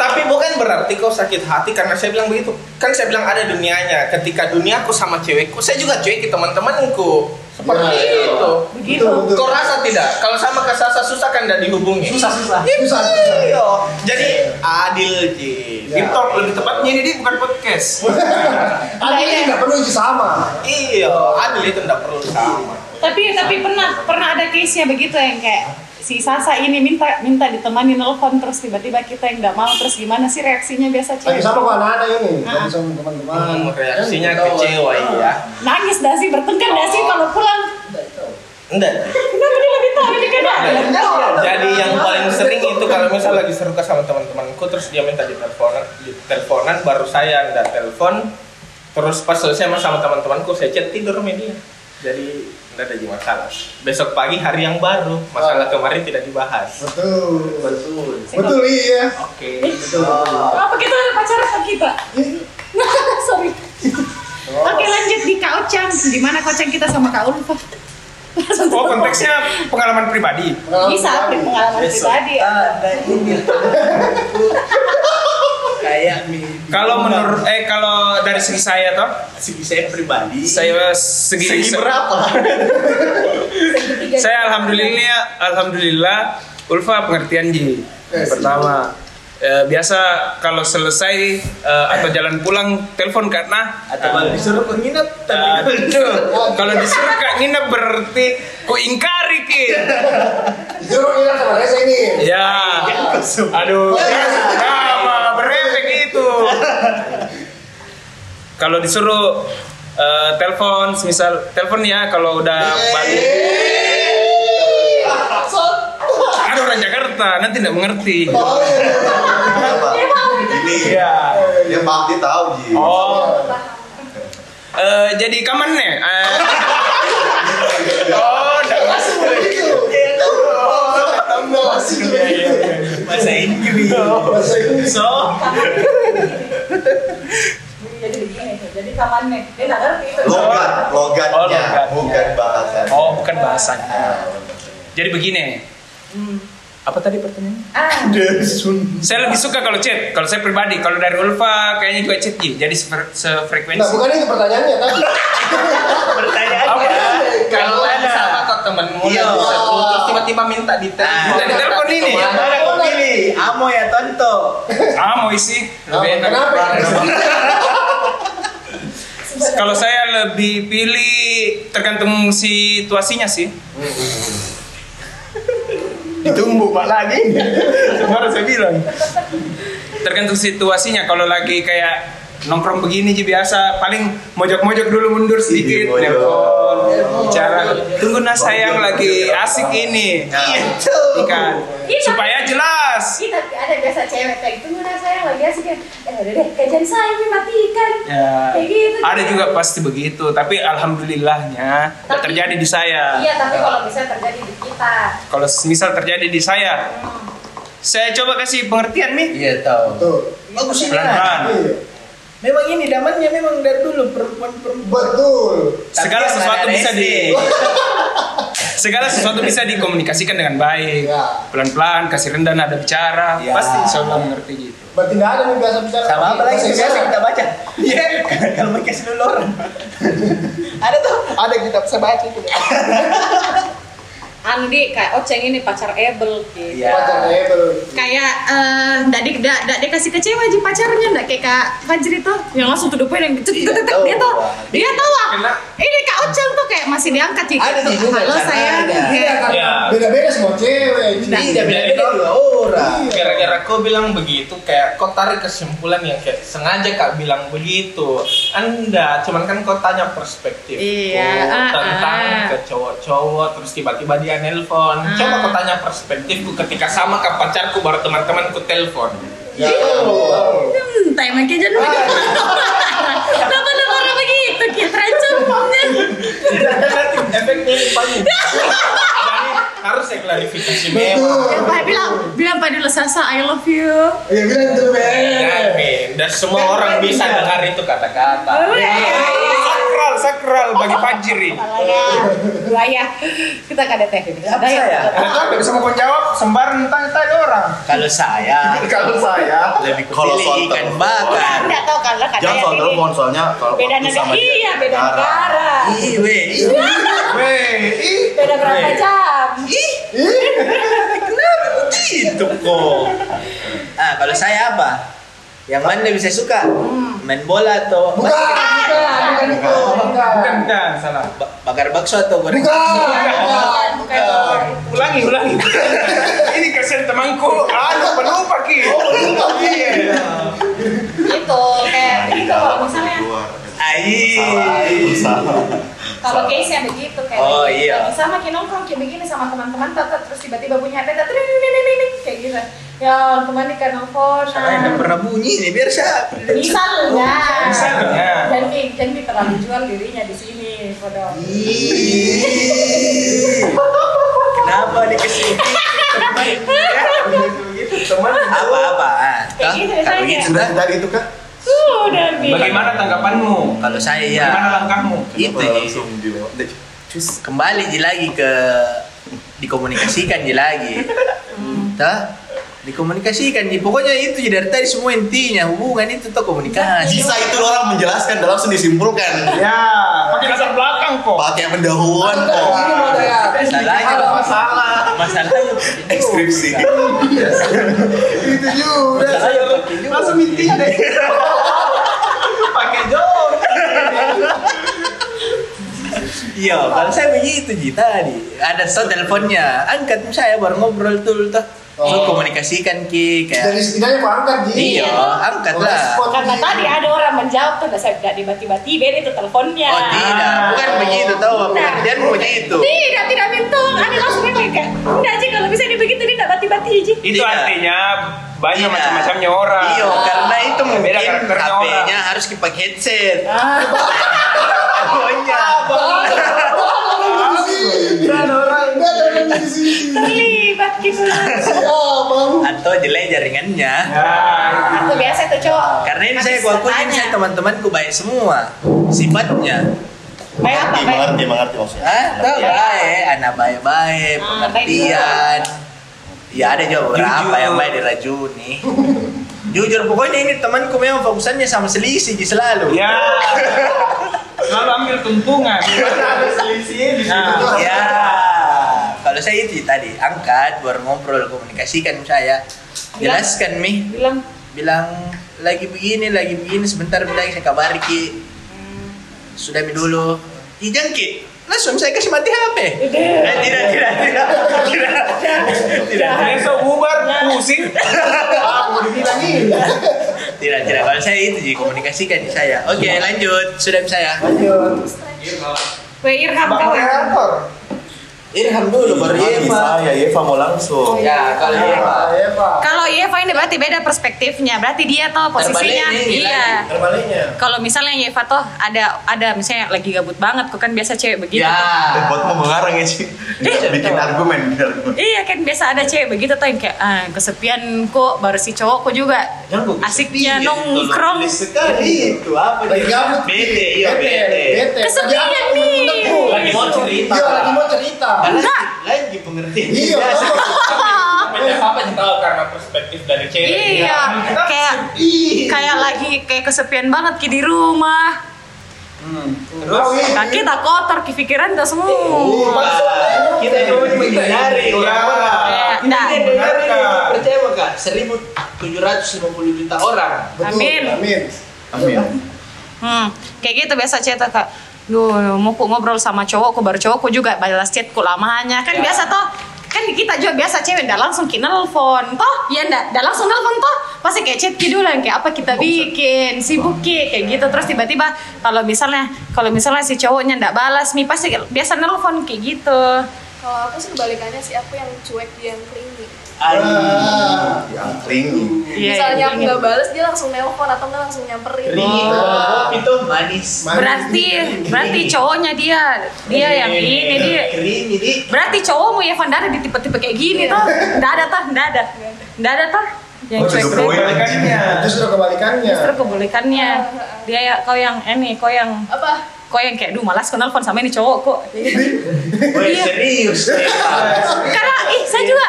Tapi bukan berarti kau sakit hati karena saya bilang begitu. Kan saya bilang ada dunianya. Ketika duniaku sama cewekku, saya juga cuek ke teman-temanku. Seperti
Ya, ya.
itu.
Begitu.
Kau rasa tidak? Kalau sama ke Sasa susah kan tidak dihubungi.
susah susah.
Susah.
Iya. Jadi adil ji. Gitu.
Ya.
Talk lebih tepatnya ini dia bukan podcast
Iya,
Ada ini nggak perlu isi sama.
Iya, adil itu tidak perlu sama.
tapi tapi pernah pernah ada case nya begitu yang kayak si Sasa ini minta minta ditemani nelpon terus tiba-tiba kita yang nggak mau terus gimana sih reaksinya
Lagi
biasa cewek?
sama kok anak-anak ini,
Ah.
lagi sama teman-teman.
Hmm, reaksinya kecewa iya
Nangis dah sih bertengkar dah sih kalau pulang.
enggak
Kenapa dia lebih tahu ini kan?
jadi yang paling sering itu kalau misal lagi seru sama teman-temanku terus dia minta diteleponan diteleponan baru saya nggak telepon terus pas selesai sama- sama teman-temanku saya chat tidur sama dia jadi nggak ada masalah besok pagi hari yang baru masalah kemarin tidak dibahas
Betul.
betul
Betul iya.
oke
Apa kita ada pacar apa kita? Sorry. Oke lanjut di Kak Ocang, gimana Kocang kita sama Kak Ulfa?
Oh konteksnya pengalaman pribadi.
Bisa pengalaman pribadi.
Ada ini. Kayak mie.
Kalau menurut eh kalau dari segi saya toh,
segi saya ya, pribadi.
saya Iya. segi,
Segi berapa?
Saya alhamdulillah alhamdulillah Ulfa pengertian Ji.
Eh,
Pertama eh, biasa kalau selesai eh, atau jalan pulang telepon karena
Atau malah disuruh ke nginep tapi
Aduh, kalau disuruh kak nginep berarti ku ingkari Ki.
Jujur ini sama Reza ini.
Ya. Aduh. Sama berefek itu. Kalau disuruh eh, telepon, misal telepon ya kalau udah balik. Aduh Kan orang Jakarta nanti tidak mengerti.
Kenapa? Ini
Iya.
dia pak dia tahu Ji.
Oh. Eh, jadi kamarnya. Eh.
Iya.
oh, enggak masuk.
bahasa Inggris.
So,
Jadi begini, jadi kamarnya dia nggak ngerti itu.
Logat,
Oh,
logatnya,
logat.
bukan bahasan.
oh bukan bahasanya.
Ah.
Jadi begini. Apa tadi pertanyaannya?
Ah,
Saya lebih suka kalau chat, kalau saya pribadi, kalau dari Ulfa kayaknya juga chat gitu. Jadi sefre-
Nah,
sefrekuensi.
bukan itu pertanyaannya kan?
Apa?
kalau ada sama kok temenmu
Iya.
yang bisa putus tiba-tiba minta
Ah,
ditelepon
Dari telepon ini.
Mana kau pilih? Amo ya Tonto.
Ah, mau isi. Lebih enak.
Kenapa?
Kalau saya lebih pilih tergantung situasinya sih.
ditunggu pak lagi
Baru saya bilang. Tergantung situasinya. Kalau lagi kayak nongkrong begini sih biasa paling mojok-mojok dulu mundur
Iya,
sedikit
mojok.
telepon bicara tunggu nah sayang lagi asik ini
Iya,
Iya. ikan supaya jelas
Ih, tapi ada biasa cewek kayak itu udah saya lagi asik ya. Eh udah deh, kajian saya ini matikan.
Ya.
Kayak gitu.
Ada juga pasti begitu, tapi alhamdulillahnya nggak
Tapi-
terjadi di saya.
Iya, tapi kalau bisa terjadi di kita.
Kalau misal terjadi di saya, saya coba kasih pengertian nih.
Iya tahu.
Tuh.
Bagus ini.
Pelan-pelan.
Iya.
lah. Memang ini damannya memang dari dulu perempuan-perempuan.
Betul.
Segala
yang
sesuatu
ada
bisa
SD.
di segala sesuatu bisa dikomunikasikan dengan baik.
Ya.
Pelan-pelan, kasih rendah nada bicara,
Ya.
pasti insya Allah mengerti gitu.
Berarti nggak ada nih biasa bicara.
Sama apa lagi
Masih
biasa
sama.
kita baca. Iya. Kalau mereka seluruh orang. Ada tuh. Ada kita bisa baca juga.
Andi kayak Oceng ini pacar Ebel gitu.
Iya.
Pacar label.
kayak eh ndak di ndak ndak dikasih kecewa aja pacarnya ndak kayak kak Fajri tuh yang langsung tuh depan yang cetek
Iya,
cetek
tahu.
dia tuh dia tahu ah ini kak Ocang tuh kayak masih diangkat sih
Ada sih
gitu
juga
halo
cara
saya
ada.
Iya.
Ya.
kan? Beda-beda semua cewek.
Tidak
Ji.
beda-beda dua orang.
gara-gara kau bilang begitu kayak kau tarik kesimpulan yang kayak sengaja kak bilang begitu anda cuman kan kau tanya perspektif
Iya, ah,
tentang
ah.
ke cowok-cowok terus tiba-tiba dia nelpon coba kau tanya perspektifku ketika sama ke pacarku baru teman-temanku telpon
Ya, tahu.
hmm tapi makanya jangan begitu
iya.
kenapa lu marah begitu kayak terancam
efeknya paling jadi harus saya klarifikasi memang
ya pak bilang bilang pak dulu Sasa I love you
Iya bilang itu
Ya, Min. dan semua orang bisa dengar itu kata-kata
Sakral, sakral bagi Fajri.
Alaya, buaya. Kita kada teh ini.
Apa
Iya.
saya?
Nggak bisa mau jawab, sembarang tanya-tanya orang.
Kalau saya
Kalau saya
lebih
Kalau
pilih
soto.
ikan bakar.
Enggak tahu kalau kada
jangan
yang
soal
ini.
telepon soalnya kalau
Iya, Beda
aku
negara.
sama dia,
Iya, beda negara.
Ih, Iya, weh, ih,
iya.
Beda berapa jam?
Gitu kok. Hmm.
Ah, kalau saya apa? Yang mana lebih saya suka? Main bola atau
Bukan.
Ah,
bukan itu.
Bukan, bukan, salah.
Ba- bakar bakso atau goreng bakso?
Bukan. Bukan.
Ulangi, ulangi. Ini kasihan temanku. Aduh, pelupa ki.
Lupa, Ki.
Itu kayak gitu kalau misalnya
Ai.
kalau case yang begitu kayak
Oh,
lagi-
iya.
lagi sama kayak nongkrong kayak begini sama teman-teman tata terus tiba-tiba bunyi HP tata nih nih nih nih kayak gitu ya teman di nelfon ah.
Saya nggak pernah bunyi nih biar saya.
misalnya
Misalnya.
jangan di jangan di terlalu jual dirinya di sini bodoh
Ih. Kenapa dikasih begitu? Apa-apa? ah,
Kayak
toh?
gitu
ya,
Kalau
biasanya.
gitu
Sudah
toh,
dari itu kah?
sudah bi
Bagaimana tanggapanmu?
kalau saya ya
Bagaimana langkahmu?
itu Ji. kembali Ji, lagi ke dikomunikasikan Ji, lagi. Tah? Dikomunikasikan Ji. Pokoknya itu Ji, dari tadi semua intinya hubungan itu tuh komunikasi.
Bisa itu orang menjelaskan dan langsung disimpulkan
Ya, pakai latar belakang kok.
pakai pendahuluan kok.
Masalahnya
Masalah.
masalahnya
Ekskripsi.
Itu juga.
Langsung intinya deh. Pakai jok.
Iya, kalau saya begitu Ji tadi. Ada so teleponnya, angkat saya baru ngobrol tuh tuh. So
Oh.
komunikasikan ki
Dari
kayak "Oh,
setidaknya aku angkat Ji.
Iya, angkat
Kalau
lah.
respon,
karena
Ji.
tadi ada orang menjawab tuh udah saya tidak tiba-tiba itu teleponnya
Oh tidak, bukan begitu tahu pekerjaan begitu.
tidak tidak minta ada langsung kayak kayak enggak aja kalau bisa dia begitu dia tidak tiba-tiba
Itu
aja
Tidak.
artinya banyak
Iya.
macam-macamnya orang.
Iya, karena itu mungkin
Beda karakternya
HP-nya harus dipakai headset.
Ah.
Pokoknya.
Dan orang dan di sini.
terlibat gitu
Apa?
Atau jelek jaringannya.
Ya.
aku biasa tuh cowok
Karena ini
Habis
saya kuakuin
tanya.
saya teman-temanku baik semua sifatnya.
Baik apa baik
Mengerti, mengerti maksudnya.
Ah, tahu baik, anak baik-baik,
Ah, baik
pengertian. Ya ada juga beberapa
Jujur.
yang baik diracuni. Jujur pokoknya ini temanku memang fokusannya sama selisih Ji, selalu.
Ya. Selalu ambil keuntungan. Ada selisihnya di situ.
ya kalau saya itu tadi angkat baru ngobrol komunikasikan saya jelaskan mi
bilang
bilang lagi begini lagi begini sebentar bilang saya kabari ki sudah mi dulu ijang ki langsung saya kasih mati hp eh, tidak tidak tidak tidak tidak
Besok bubar pusing.
Aku dibilangin.
tidak tidak kalau saya itu jadi komunikasikan di saya oke lanjut sudah ya? mi saya
Weh Irham kau ya.
Irham dulu baru
Lagi
Iya,
Iya,
saya, Yeva mau langsung.
ya kalau Irham
Ya, Pak.
Kalau Yeva ini berarti beda perspektifnya, berarti dia tuh posisinya
Terbalik nih,
iya.
Terbaliknya.
Kalau misalnya Yeva tuh ada ada misalnya lagi gabut banget, kok kan biasa cewek begitu. Eh,
ya
tuh.
Buatmu mengarang ya sih.
Iya,
Bikin argumen. bikin argumen.
Iya kan biasa ada cewek begitu tuh yang kayak ah, kesepian kok baru si cowok kok juga asiknya
Iya,
nongkrong
sekali itu apa
Lagi gabut.
bete iya bete
Bete.
Kesepian
Lagi apa?
nih.
Tepu.
Lagi mau cerita.
Iya, lagi mau cerita.
Enggak. Lagi pengertian.
Iya.
apa sih tahu karena perspektif dari cewek.
iya kayak kayak lagi kayak kesepian banget ki di rumah
Terus
kaki tak kotor ki pikiran tak semua
Iya.
Iya. Kita yang mau menghindari orang orang.
Iya.
Kita
Nah.
yang menghindari orang. percaya enggak? Seribu tujuh ratus lima puluh juta orang.
Betul.
Amin.
Amin.
Amin.
Hmm, kayak gitu biasa chat tuh, kak. Duh, mau ku ngobrol sama cowok, ku baru cowok, ku juga balas chat ku lamanya. Kan
Ya.
biasa toh, kan kita juga biasa cewek ndak langsung ki nelfon toh iya ndak ndak langsung nelfon toh pasti kayak chat ki dulu kayak apa kita bikin sibuk ki
Ya.
kayak gitu terus tiba-tiba kalau misalnya kalau misalnya si cowoknya ndak balas mi pasti biasa nelfon kayak gitu
Kalau aku sih kebalikannya sih aku yang cuek dia yang clingy.
Ah.
Yang clingy.
Iya,
Misalnya
iya,
aku
iya.
nggak balas dia langsung nelpon atau nggak langsung nyamperin.
Oh, itu manis.
Iya. Manis.
berarti berarti cowoknya dia
Iya,
dia yang ini dia
Kering jadi.
Berarti cowokmu ya Van ada di tipe-tipe kayak gini toh? Nggak ada toh, nggak ada. Nggak ada toh? Yang
Oh,
cuek
justru
cuek
poin.
kebalikannya.
Nah, Justru kebalikannya.
Justru kebalikannya. Dia ya kau yang ini, kau yang
Apa?
kau yang kayak duh malas kenal nelfon sama ini cowok kok.
Woi,
Iya.
serius.
Karena ih saya juga.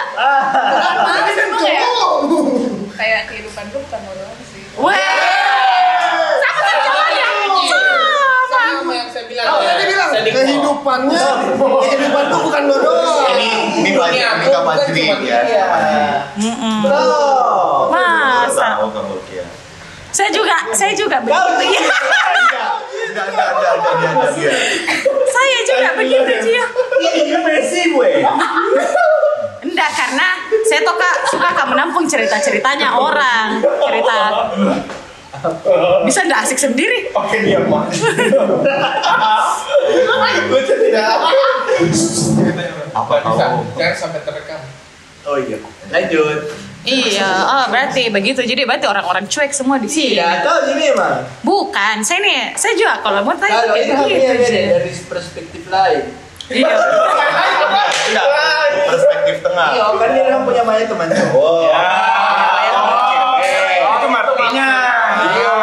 Tapi memang kayak
Oh.
kayak kehidupan tuh bukan modal sih.
Iya.
Wah. Sama kan jawabannya. Sama.
yang saya bilang.
Oh, tadi bilang kehidupannya, kehidupan tuh bukan lo doang.
Ini ini banyak ini kapan sih ya?
Mm-mm.
Oh.
Masa?
Tahu kamu ya.
Saya juga, saya juga begitu.
Tidak, tidak,
cerita ceritanya orang cerita bisa nggak asik sendiri
Oke dia mah. Gue tidak apa.
Apa
tahu.
Jangan sampai terekam.
Oh iya. Lanjut.
iya oh berarti begitu jadi berarti orang-orang cuek semua di sini
Iya.
Tidak tahu sini Ya, emang.
bukan saya nih saya juga kalau mau tanya
Kalau
kayak
itu haknya
gitu
beda
sih.
dari perspektif lain.
iya
Tidak. Perspektif tengah.
Iya, kan dia orang punya banyak teman cowok. Iya.
Ah, Itu martinya.
Iya.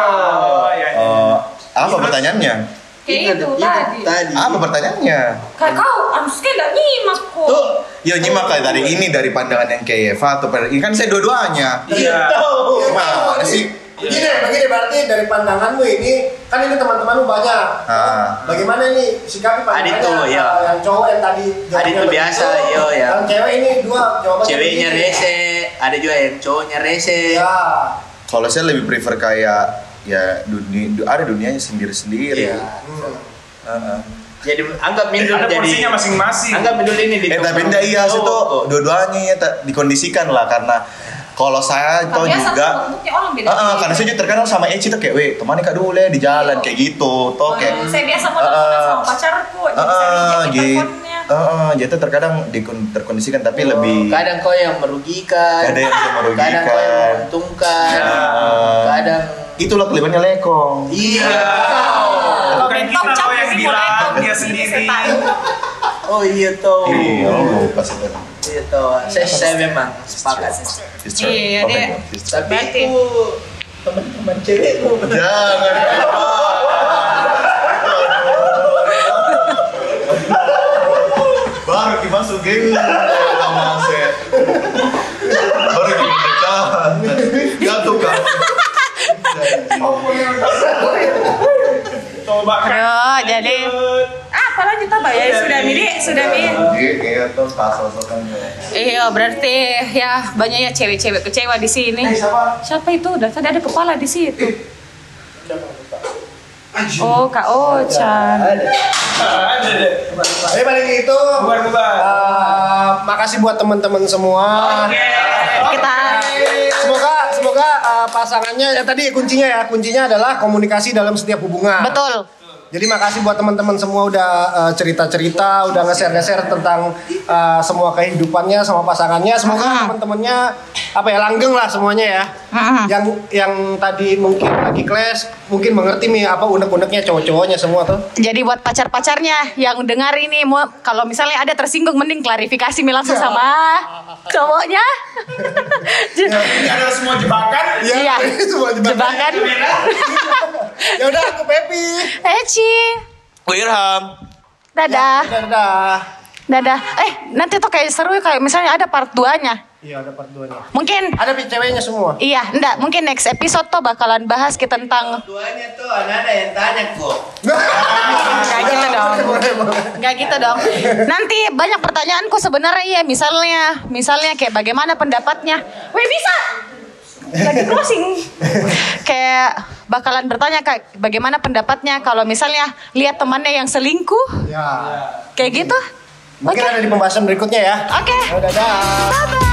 Eh, apa pertanyaannya?
Kayak itu tadi.
tadi.
Apa pertanyaannya?
Kayak kau, harusnya gak nyimak kok.
Hmm. Tuh, ya nyimak lah dari ini dari pandangan yang kayak Eva atau per- ini kan saya dua-duanya.
Iya.
Gimana sih? Iya.
Begini, begini berarti dari pandanganmu ini kan ini teman-temanmu banyak.
Ah.
Bagaimana nih sikapi pandangannya?
Adit tuh, iya.
uh, Yang cowok yang tadi jawabannya
Adit tuh
begitu,
biasa, iya, iya.
Yang cewek ini dua jawabannya.
Ceweknya
begini.
rese, ada juga yang cowoknya rese.
Ya.
Kalau saya lebih prefer kayak ya dunia du- ada dunianya sendiri-sendiri.
Iya.
Hmm.
Heeh.
Jadi anggap Mindul
Ada
jadi
porsinya masing-masing.
Anggap Mindul ini di
Eh tapi enggak iya sih
Oh.
tuh dua-duanya ya ta- dikondisikan lah karena kalau saya tuh
Tapi ya asal
juga
bentuknya orang beda.
Heeh, karena saya juga terkenal sama Eci tuh kayak, weh temannya kak dulu ya di jalan kayak gitu, tuh kayak
Aduh, Hmm, saya biasa mau
Ah,
teleponan
ah.
sama pacarku, jadi saya
Heeh,
reject
gitu.
teleponnya. Oh.
Heeh, jadi tuh terkadang dikon- terkondisikan tapi lebih
kadang kau yang merugikan.
Kadang yang merugikan.
Kadang kau yang menguntungkan.
Nah.
Kadang
itulah kelihatannya lekong.
Iya.
Bukan
Mentok
kita
cap
loh yang
sih,
bilang,
boleh.
dia sendiri.
Oh iya toh.
Iya, lupa sih tadi.
Iya toh. Saya, saya memang sepakat.
It's true.
Iya,
Oh my
dia-
God, it's true.
Tapi
Berarti.
itu teman-teman cewekku
Jangan.
Baru dimasukin sama saya.
Baru dipecah. Jatuh kan.
Coba kan.
Yo, jadi
Ah,
apa lanjut apa ya sudah mili sudah mili
Iya, tuh ya. kasar-kasar.
Iya, berarti ya banyak ya cewek-cewek kecewa di sini.
Eh,
Siapa itu? Udah tadi ada kepala di situ. Oh, Kak Ocan.
Ada deh.
Tapi paling itu
Bubar-bubar.
uh, makasih buat teman-teman semua.
Kita
Semoga semoga uh, pasangannya ya tadi kuncinya ya, kuncinya adalah komunikasi dalam setiap hubungan.
betul.
Jadi makasih buat teman-teman semua udah uh, cerita-cerita, udah nge-share-nge-share tentang uh, semua kehidupannya sama pasangannya. Semoga
Ah.
teman-temannya apa ya langgeng lah semuanya ya.
Ah.
Yang yang tadi mungkin lagi clash, mungkin mengerti nih apa unek-uneknya cowok-cowoknya semua tuh.
Jadi buat pacar-pacarnya yang dengar ini mau kalau misalnya ada tersinggung mending klarifikasi mi langsung sama cowoknya.
Ini adalah semua jebakan.
Iya.
semua jebakan.
Jebakan.
Ya udah aku Pepi.
Eci. Eh, Dadah.
Ya, Dadah.
Dadah. Eh, nanti tuh kayak seru ya, kayak misalnya ada part 2-nya.
Iya, ada part 2 nya.
Mungkin
Ada pi- ceweknya semua.
Iya, enggak. Mungkin next episode tuh bakalan bahas kita tentang
Tuanya tuh anak-anak yang tanya kok.
Enggak
Iya,
gitu dong. Enggak gitu dong. Nanti banyak pertanyaanku sebenarnya iya, misalnya misalnya kayak bagaimana pendapatnya. Weh bisa. Lagi closing. kayak bakalan bertanya kayak bagaimana pendapatnya kalau misalnya lihat temannya yang selingkuh
Ya.
kayak gitu. Oke.
Mungkin ada di pembahasan berikutnya ya.
Oke.
Ya, dadah.
Bye bye.